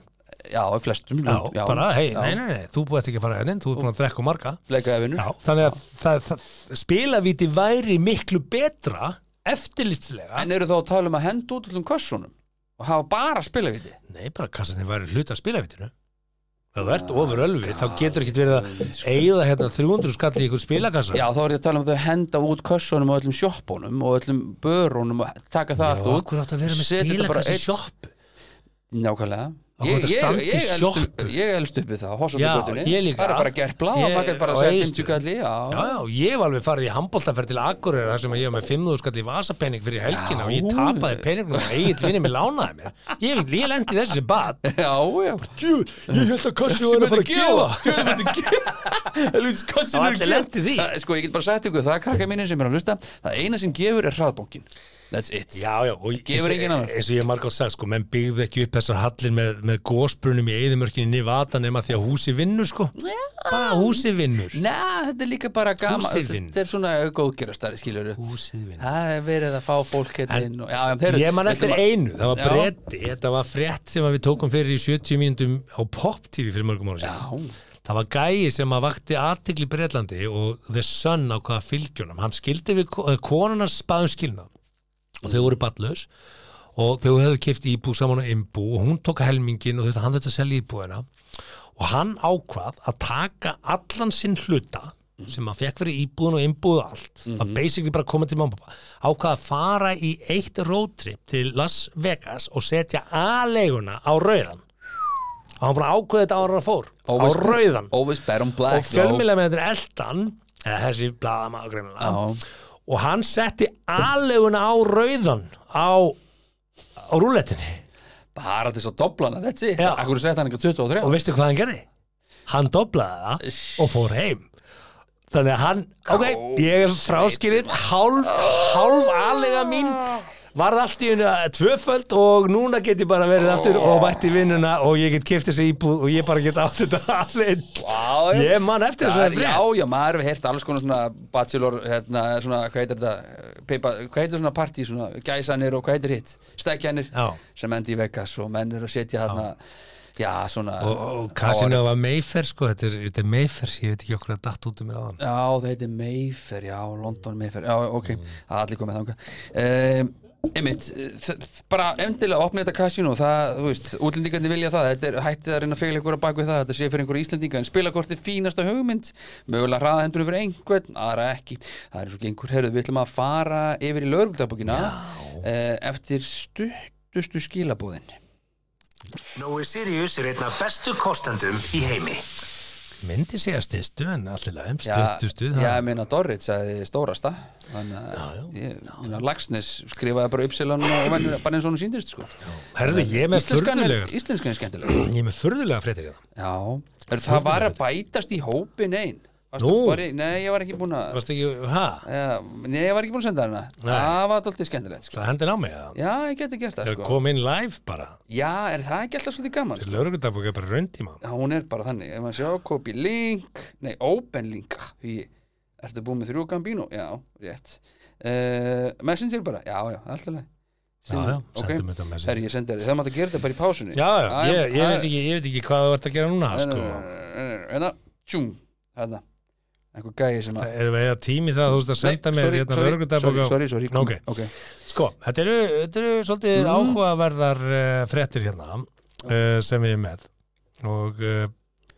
S4: já, í flestum
S3: já,
S4: löndum, já,
S3: bara, hei,
S4: já,
S3: nei, nei, nei, þú búið ekki að fara hérna inn, þú ert búin að drekka og marga
S4: Leikaði vinur
S3: já, þannig að það, það, spilavíti væri miklu betra eftirlitslega
S4: En eru þá að tala um að henda út öllum kössunum og hafa bara spilaviti
S3: Nei, bara kassatin væri hluta að spilavitinu Ef þú
S4: Ah,
S3: ert ofur ölfið, þá getur ekkert verið að
S4: sko.
S3: eigða hérna 300 skall í ykkur spilakassa
S4: Já, þá er ég að tala um að þau henda út kössunum og öllum sjoppunum og öllum börunum og taka það allt út
S3: okkur átt að vera með
S4: Setja þetta bara
S3: spilakassa
S4: einn-
S3: í sjoppu
S4: Nákvæmlega
S3: Þá
S4: Ég,
S3: kom þetta
S4: ég,
S3: standi í
S4: ég, elst,
S3: sjoppu.
S4: ég elst upp við það,
S3: Já,
S4: hossandugötunni
S3: ég líka.
S4: Það er bara gert blá,
S3: Ég-
S4: maður gætt
S3: á
S4: bara að segja
S3: Egilsstöðum.
S4: 50 kalli já.
S3: Já, já, ég var alveg farið í handbóltaferð til Akureyra þar sem ég var með 500 skall í vasapening fyrir helgina
S4: Já.
S3: og ég tapaði peningnum og eigið vinni mér lánaði mér Ég, hef- ég lendi í þessu sem bad
S4: já, já
S3: Jú, ég held að kassi
S4: Sem
S3: var að fara
S4: myndi
S3: að gefa
S4: Sem myndi gefa Helvítis, hvað sem
S3: Og
S4: eru að
S3: allir
S4: gefa?
S3: lentu í því.
S4: Það- Sko, ég get bara sagt ykkur, það er krakka mínir sem er að hlusta Það eina sem gefur er hraðbókin That's it
S3: Já, já, og eins,
S4: Gefur enginn annar.
S3: eins og ég margátt sagði, sko, menn byggði ekki upp þessar hallir með, með gósbrunum í eigðumörkinni Nivata nema því að húsi vinnur, sko bara húsi vinnur
S4: Næ, þetta er líka bara gaman
S3: Húsið þinn.
S4: Þetta er svona góðgerastari, skilur
S3: húsið vinnur
S4: Það er verið að fá fólk hérna
S3: En-
S4: inn og, já, já, heyrðu,
S3: Ég man
S4: þetta
S3: eftir
S4: var-
S3: einu, það var
S4: Já.
S3: bretti þetta var frétt sem að við tókum fyrir í 70 mínútum á Pop TV fyrir mörgum ára sér
S4: Já,
S3: það var gæi sem að vakti aðtikli í Bretlandi og The Sun á hvaða fylgjónum hann skildi við ko- eh, konuna spáðum skilna og þau voru ballaus og þau hefðu kift íbú saman á imbú og hún tók helmingin og þetta hann þetta selja íbúina og hann ákvað að taka allan sinn hluta sem hann fekk fyrir íbúðun og innbúðu allt mm var basically bara komið til mamma og pappa ákvað að fara í eitt roadtrip til Las Vegas og setja aðleguna á rauðan og hann bara ákveði þetta ára fór
S4: always-
S3: á rauðan
S4: Always bad on black
S3: og fjölmiðlega með þetta eldan eða þessi blaðamaður greinilega
S4: Já.
S3: og hann setti aðleguna á rauðan á, á rúletinni
S4: though. Bara til þess að dobla hana, that's it
S3: Já.
S4: Akkur sett hann eitthvað 23
S3: og veistu hvað hann gerði? Hann doblaði það og fór heim þannig að hann, ok, ég er fráskilinn hálf, hálf aðlega mín varð allt í hennu tvöföld og núna get ég bara verið aftur og mætti vinnuna og ég get kiptið þessi íbúð og ég bara get átt þetta allir
S4: Vá, já.
S3: ég man eftir þess
S4: Það
S3: að
S4: er- Já, já, maður hefur heyrt alls konar svona bachelor, hérna, svona, hvað heitir þetta, peipa, hvað heitir svona partí, svona gæsanir og hvað heitir hitt, stækjanir
S3: Já.
S4: sem endi í Vegas og menn eru að setja þarna, já, svona
S3: og, og kasinu var Mayfair sko, þetta er, þetta er Mayfair, ég veit ekki okkur að datt út um mér aðan
S4: Já, það heitir Mayfair, já, London Mayfair Já, ok, það er allir komið þanga um, Einmitt, þ- bara endilega opna þetta kasinu það, þú veist, útlendingarnir vilja það þetta er hættið að reyna að fegla ykkur að baka við það þetta sé fyrir einhverja Íslendinga, en spilakorti fínasta hugmynd mögulega hraða hendur fyrir einhvern aðra ekki, það er eins og gengur herðu, við ætlum að fara yfir í lögregldagbókina uh, eftir stuttustu skilabúðin
S1: Nói Sirius er einn af bestu kostendum í heimi.
S3: myndi segja styrstu en allir lagum
S4: Já,
S3: styrtustu
S4: já, ég meina Dorrit sagði stórasta Þannig
S3: Já,
S4: að ég- ég meina, Lagsnes skrifaði bara uppsilan og venur bara eins og hún síndist sko.
S3: herðu ég er með
S4: Íslenskan er,
S3: furðulegar
S4: íslenskan er skemmtilega
S3: ég er með furðulegar fréttir hérna. í það
S4: Já, er, það var að bætast í hópin ein Varstu-
S3: Nú.
S4: var ég- Nei, ég var ekki búin að
S3: varst ekki, ha,
S4: Já, Nei, ég var ekki búin að senda hana
S3: Nei.
S4: Það var alltaf skemmtilegt sko.
S3: það hendir á mig að
S4: Já, ég geti gert það
S3: það
S4: sko.
S3: kom inn live bara
S4: Já, er það ekki alltaf svolítið gaman? sko?
S3: lögregundabók er bara rauntíma
S4: Já, hún er bara þannig Ef maður sjá, copy link Nei, open link Ah, Hugi, ertu búin með þrjú gambínu? Já, rétt uh, Messenger bara, já, já, alltaf leið
S3: já, já, sendum þetta með
S4: Herri, ég sendi þér, það mátt að gera þetta bara í pásunni
S3: já, já, ég, ég, veist ekki, ég veit ekki hvað þú ert að gera núna sko.
S4: Hérna, tjúm, hérna Einhver gæi sem að
S3: erum við að tími það að þú veist að senda mér
S4: sorry,
S3: hérna
S4: sorry,
S3: lögregundabók
S4: sorry, sorry, sorry.
S3: Ok. Sko, þetta eru, þetta eru svolítið
S4: Mhm.
S3: áhugaverðar uh, fréttir hérna uh, sem við erum með og uh,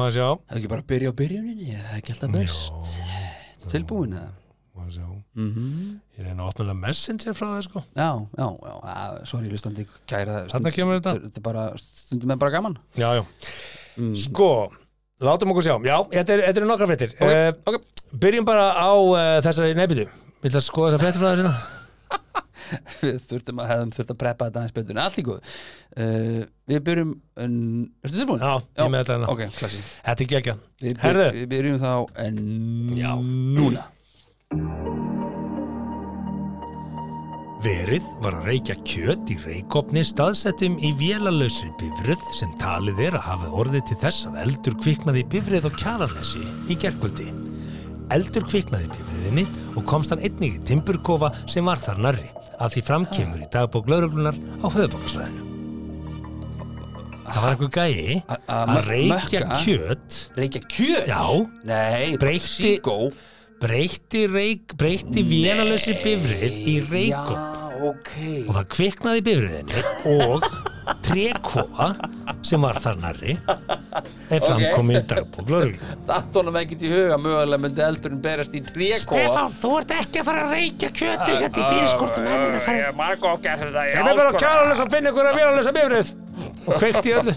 S3: maður sjá
S4: Það er ekki bara að byrja á byrjuninni, það er ekki alltaf best Ertu Tilbúin eða?
S3: maður sjá,
S4: Mm
S3: ég reyna að opna hérna messenger frá það sko,
S4: Já, já, já, að, sorry, listandi kæra
S3: þarna kemur þetta
S4: Þetta er bara, stundum er bara gaman
S3: Já, já,
S4: mm.
S3: sko látum okkur sjá, já, þetta eru er nokkra fréttir okay.
S4: ok.
S3: byrjum bara á uh, þessari nefnitu, vil það skoða þessar fréttir frá það hérna?
S4: Við þurftum að hefðum þurft að preppa þetta aðeins betur en allt í góð uh, Við byrjum, en, ertu tilbúin?
S3: Já, ég með þetta hérna,
S4: Ok, klassi
S3: þetta er gegja
S4: Við, byr,
S3: Herðu.
S4: við byrjum þá en
S3: Já.
S4: núna
S3: Verið var að reykja kjöt í reykopni staðsettum í vélalausri bifröð sem talið er að hafa orðið til þess að eldur kviknaði í bifröð og kjararlesi í gerkvöldi. Eldur kviknaði í bifröðinni og komst hann einnig í timburkofa sem var þar nærri að því framkemur í dagbók lauruglunar á höfubókasvæðinu. Það var einhver gæi
S4: A- að
S3: að
S4: mö-
S3: reykja
S4: mökka?
S3: kjöt,
S4: Reykja kjöt?
S3: Já.
S4: Nei,
S3: Breytti-
S4: Psycho
S3: breytti, reyk, breytti vélalausri bifröð í reykopni.
S4: Já, ok
S3: og það kviknaði í bifriðinni og trekofa sem var þar nærri er framkomið í dagbók lögreglu.
S4: Datt honum ekkert í huga mögulega myndi eldurinn berast í trékóa
S3: þú ert ekki að fara að reykja kjötið þetta
S4: Ah,
S3: í bílskortum að minna fara
S4: margóf gert þetta í
S3: Þetta er bara kjáralösa að finna ykkur að vélalösa bifrið og kveikt í öllu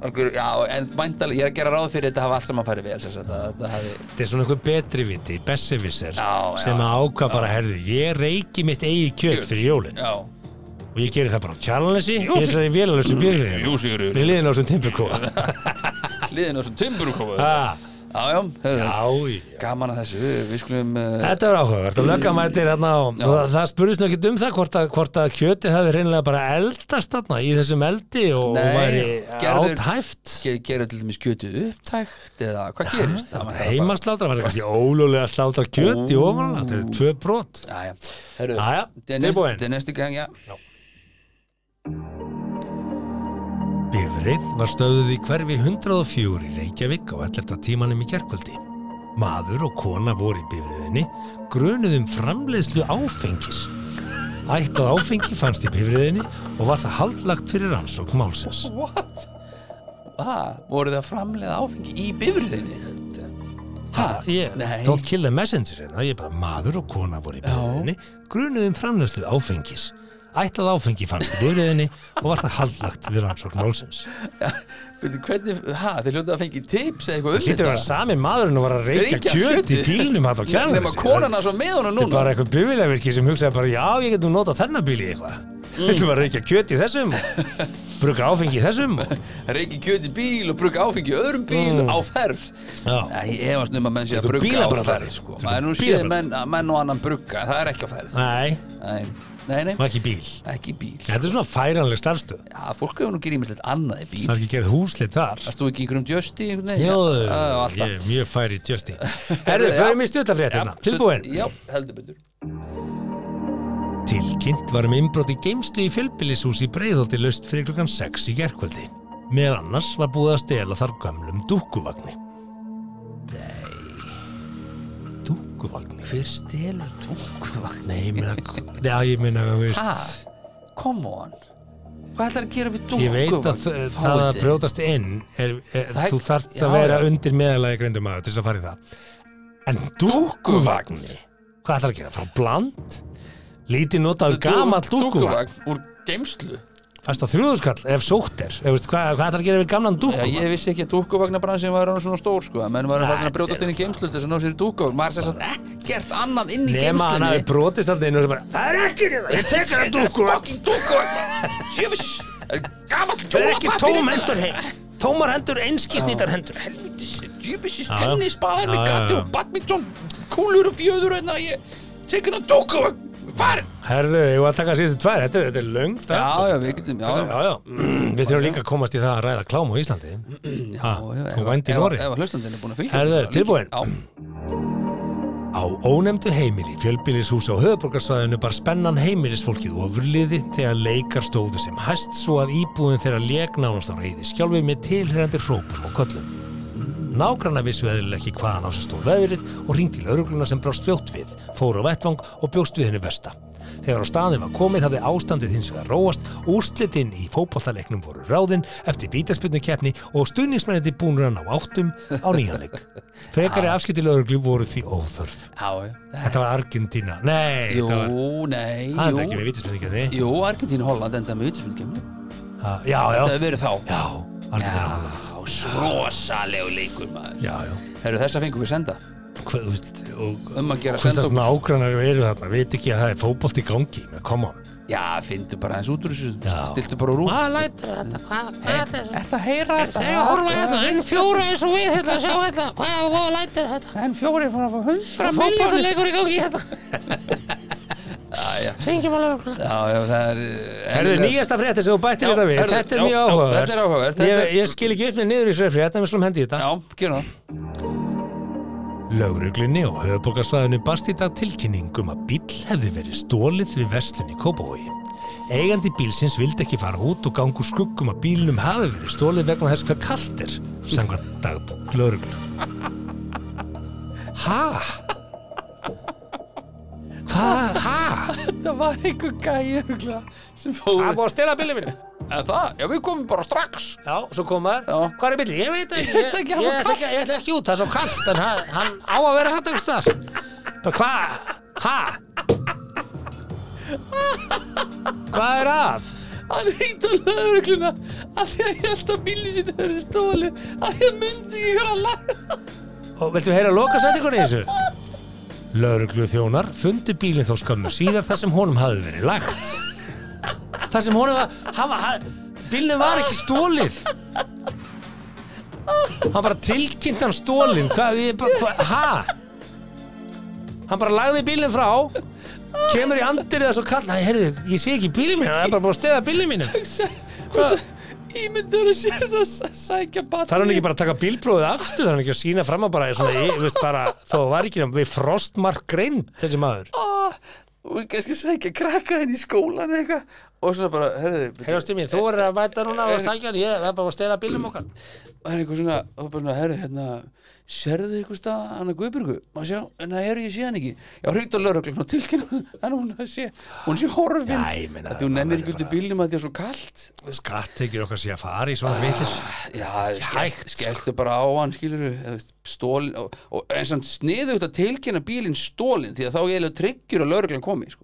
S4: Okkur, já, en væntal, ég er að gera ráð fyrir þetta hafa allt saman farið vel sem sagt, að þetta hafi
S3: Þetta er svona einhver betri viti, bessevisser
S4: Já, já,
S3: sem að ákvað bara, herðu, ég reyki mitt eigið kjöt fyrir jólin
S4: Já,
S3: og ég geri það bara á kjáralösi í þessari vélalösu bifrið
S4: Jú, Sigurður.
S3: Við liðin á þessum timburkóa
S4: hliðin á þessum timbur komaðu
S3: Ah,
S4: Já, já, hörðu,
S3: Já, já
S4: gaman að þessu Við skulum uh,
S3: Þetta var áhugavert og löggamættir hérna og og það, það spurðist nú ekkert um það hvort að, hvort að kjötið hafi reynilega bara eldast þarna í þessum eldi og,
S4: Nei,
S3: og væri
S4: gerður-
S3: áthæft
S4: ge- gera til dæmis kjötu upptækt eða hvað gerist
S3: Það var
S4: mætti bara-
S3: heimarslátra, það var kannski ólulega að slátra kjöt í ofan þetta eru tvö brot
S4: Jæja, herru,
S3: Jæja,
S4: þetta er næst-
S3: tilbúin.
S4: þetta er næstu gang, já
S3: Bifrið var stöðuð í hverfi 104 í Reykjavík á 11. tímanum í gerkvöldi. Maður og kona voru í bifriðinni grunuð um framleiðslu áfengis. Ætt og áfengi fannst í bifriðinni og var það haldlagt fyrir rannsók málsins.
S4: What? Hva? Voru það framleiða áfengi í bifriðinni? Hæ?
S3: Ég,
S4: Nei
S3: don't kill the messenger hérna, ég bara maður og kona voru í bifriðinni, grunuðum framleiðslu áfengis. Ætlað áfengi fannst í bifriðinni og var það haldlagt við rannsók málsins.
S4: Byrju, hvernig, hæ, þeir hljóta að fengi tips eða eitthvað um
S3: Lítur að vera sami maðurinn og var að reykja kjöt í bílnum hann á kjærnum.
S4: Nefna konan hans var með honum
S3: Þetta er
S4: núna
S3: bara eitthvað bifiljavirki sem hugsaði bara já, ég get nú notað þennan bíl í eitthvað
S4: Mm.
S3: Þetta var reykja kjöt í þessum og bruka áfengi í þessum og...
S4: Reykja kjöt í bíl og brugga áfengi í öðrum bíl
S3: Mm.
S4: á ferð
S3: Já.
S4: Nei, ég efast um að menn sé að
S3: Tökum
S4: brugga á
S3: bílabrandari.
S4: ferð sko.
S3: Tökum
S4: Maður er nú séð
S3: bílabrandari.
S4: menn, menn og annan brugga en Það er ekki á ferð
S3: Nei,
S4: Nei, nei, nei
S3: og ekki bíl
S4: ekki í bíl
S3: Þetta er svona færanleg starfstöð
S4: Já, fólk hefur nú grímislegt annað í
S3: Það
S4: bíl
S3: er ekki gerð húslið þar
S4: Það stóð ekki einhverjum djösti
S3: Jó,
S4: alltaf
S3: ég er mjög færi í tjösti Herðu, förum í stjórnafréttina, tilbúin
S4: Já, heldur betur
S3: Tilkynnt var um innbrot í geimslu í fjölbýlishús í Breiðholti laust fyrir klukkan 6 í gerkvöldi. Meðal annars var búið að stela þar gömlum dúkkuvagni. Nei. Dúkkuvagni?
S4: Hver stelur tunguvagn?
S3: Nei, ég meina, já, ég meina, þú
S4: Ha?
S3: veist,
S4: Come on Hvað ætlar að gera við
S3: ég
S4: tunguvagn?
S3: veit að þ- það að brjótast inn, er, er,
S4: Það er-
S3: þú þarft
S4: já,
S3: að vera
S4: já.
S3: undir meðalagi greindum aður til þess að fara í það. En dúkkuvagni? Hvað ætlar að gera? Frá bland? Lítið notaður gamall dúkkuvagn?
S4: Úr geimslu
S3: fannst það þrjúðuskall ef sótt er, ef veist, hvað, hvað ætlar að gera við gamlan dúk
S4: Já, ég vissi ekki að dúkkuvagnabransin var orðin svona stór sko, að menn var
S3: Nei,
S4: farin að brjótast
S3: þetta
S4: inn í geimslu til þess að ná sér í dúkkuvagn, maður sér satt ekkert annað inn í
S3: nema hann hafi
S4: geimslunni
S3: brotist hann inn og sem bara, það er ekki nema, ég tek sko." það dúkku
S4: Fucking dúkkuvagn Jöfis, gamall
S3: það er ekki
S4: tólapapir
S3: tóm hendur heim tómar hendur, einskisnýtar hendur
S4: Helvitis, jöfis,
S3: Já, já.
S4: tennisbaðar
S3: Já,
S4: með
S3: já,
S4: gati
S3: já.
S4: og badminton kúlur og fjöður en að ég tek hérna hann að dúkkuvagn, farin
S3: herðu, ég var að taka síðustu tvær, þetta, er- þetta er löngt
S4: Já, já, við getum, já, já
S3: já, já. Mm, við þurfum líka að komast í það að ræða klám á Íslandi ha,
S4: já, ef-
S3: og vændi í
S4: ef-
S3: Nóri
S4: Ef að hlustandinn er búin að fylgja
S3: Herðu,
S4: þessu,
S3: tilbúin.
S4: já.
S3: Á ónefndu heimili fjölbýlishús á höfuborgarsvæðinu bar spennan heimilisfólkið ofurliði þegar leikar stóðu sem hæst svo að íbúðin þeirra leik nánast á reyði skjálfið með tilherrandi hrópum og köllum. Nágranna vissu eðlilega ekki hvaðan á sem stóð veðrið og ringd til örugluna sem brást fljótt við, fór á vettvang og bjóst við henni versta. Þegar á staðin var komið hafði ástandið hins vegar róast, úrslitin í fótballtaleiknum voru ráðin eftir vítaspyrnukeppni og stuðningsmennandi búnur að ná áttum á nýjanleik. Frekari afskiptil öruglu voru því óþörf.
S4: Já, já.
S3: Þetta var Argentína Nei,
S4: Jú,
S3: þetta var
S4: nei,
S3: Það er þetta
S4: jú
S3: ekki með vítaspenningjarni
S4: Jú, Argentínu Holland enda með vitspilkjum
S3: Já, já,
S4: Það hefur verið þá
S3: já, Argentína Holland.
S4: Já, rosalegu leikur maður
S3: Já, já
S4: Herru, þessa fengum við senda
S3: Hvað, þú veist og-
S4: Um að gera
S3: Hvað
S4: senda
S3: það svona ágrannar eru þarna Veit ekki að það er fótbolt í gangi Men come on
S4: Já, fyndu bara eins út úr þessu
S3: Já.
S4: Stiltu bara úr úr
S5: Hvað lætur þetta? Hvað hva er þetta?
S4: Þetta heyra
S5: Þeir eru að horfa hérna, enn fjóra eins og við hérna, sjá hérna, hvað, hvað lætur þetta?
S4: En fjóri fór að fá hundra
S5: Fótbolta leikur í gangi hérna,
S4: Já,
S5: ringjum að lögur.
S4: já, það er eh,
S3: Herðu,
S4: eðlilega-
S3: nýjasta frétta sem þú bættir
S4: Já,
S3: þetta við
S4: herðu,
S3: Þetta er
S4: já,
S3: mjög
S4: já,
S3: áhugavert
S4: þetta er áhugavert, þetta
S3: Ég-
S4: er-
S3: Ég skil ekki upp með niður í sér frétta Við slum hendi í þetta
S4: Já, gera það
S3: Laugruglinni og höfuborgarsvæðinu barst í dag tilkynning um að bíll hefði verið stólið við verslun í Kópavogi. Eigandi bílsins vildi ekki fara út og gangur skuggum um að bílnum hafi verið stólið vegna þess hvað kalt er, samkvæmt dagbúk lauruglu. Ha? Hvað? Ha?
S4: Það var einhver gæi örugglega, sem fór
S3: búið að stela bílnum minu.
S4: En Ah. það, já, við komum bara strax
S3: Já, svo kom maður.
S4: Já.
S3: Hvað er bíllinn? Ég veit ekki.
S4: Ég veit ekki, hann er svo
S3: ég ætla ekki- Ég ætla ekki út, það er svo kallt, en hann, hann á að vera hættu ekki stað. Hvað? Ha? Hvað er að?
S4: Hann reyndi að löðurugluna af því að ég held að bílinn sinni verið stóli af því að myndi ég vera að laga
S3: Og viltu heyra loka settingunni í þessu? Lauruglu þjónar fundu bílinn þó skömmu síðar þar sem honum hafði verið lagt. Þar sem honum var, hann var, hann, bílinn var ekki stólið. Hann bara tilkynnt hann stólinn, hvað, ég bara, hvað, hæ? Hann bara lagði bílinn frá, kemur í andir eða svo kall, hæ, heyrðu, ég sé ekki bílinn minn, hann er bara búin að steða bílinn minn. Hvað?
S4: Ímyndur að sé það að sækja batni
S3: Þarf hann ekki bara að taka bílprófið aftur, þarf hann ekki að sína fram að bara, svona, ég, veist, bara þó var ekki nefn, við frostmark greind þessi maður.
S4: Og Ah, kannski sækja krakka henni í skólan eða eitthvað og svona bara, herðu
S3: Hefjastu mín, þú verður að væta núna og sækja hann, ég er bara að stela bílum okkar.
S4: Það er eitthvað svona, og bara svona, herru, hérna, sérðu eitthvað stað hana Guðbjörgu? Má sjá, en það er ég sé hann ekki. Já, hreint á lögreglun og tilkynna hann, hún að sé, hún sé horfin.
S3: Já, ég meina,
S4: Að þú
S3: maður
S4: nennir
S3: verður
S4: ekki út í
S3: bara-
S4: bílnum að því að svo kallt.
S3: Skatt tekir okkar síðan að fara í svona vitlis.
S4: Já,
S3: hægt, sko.
S4: skellt, skelltu bara á hann, skilur við, stólin, og, og eins og sniðu út að tilkynna bílinn stólin, því að þá ég eða tryggjur að lögreglun komi, sko.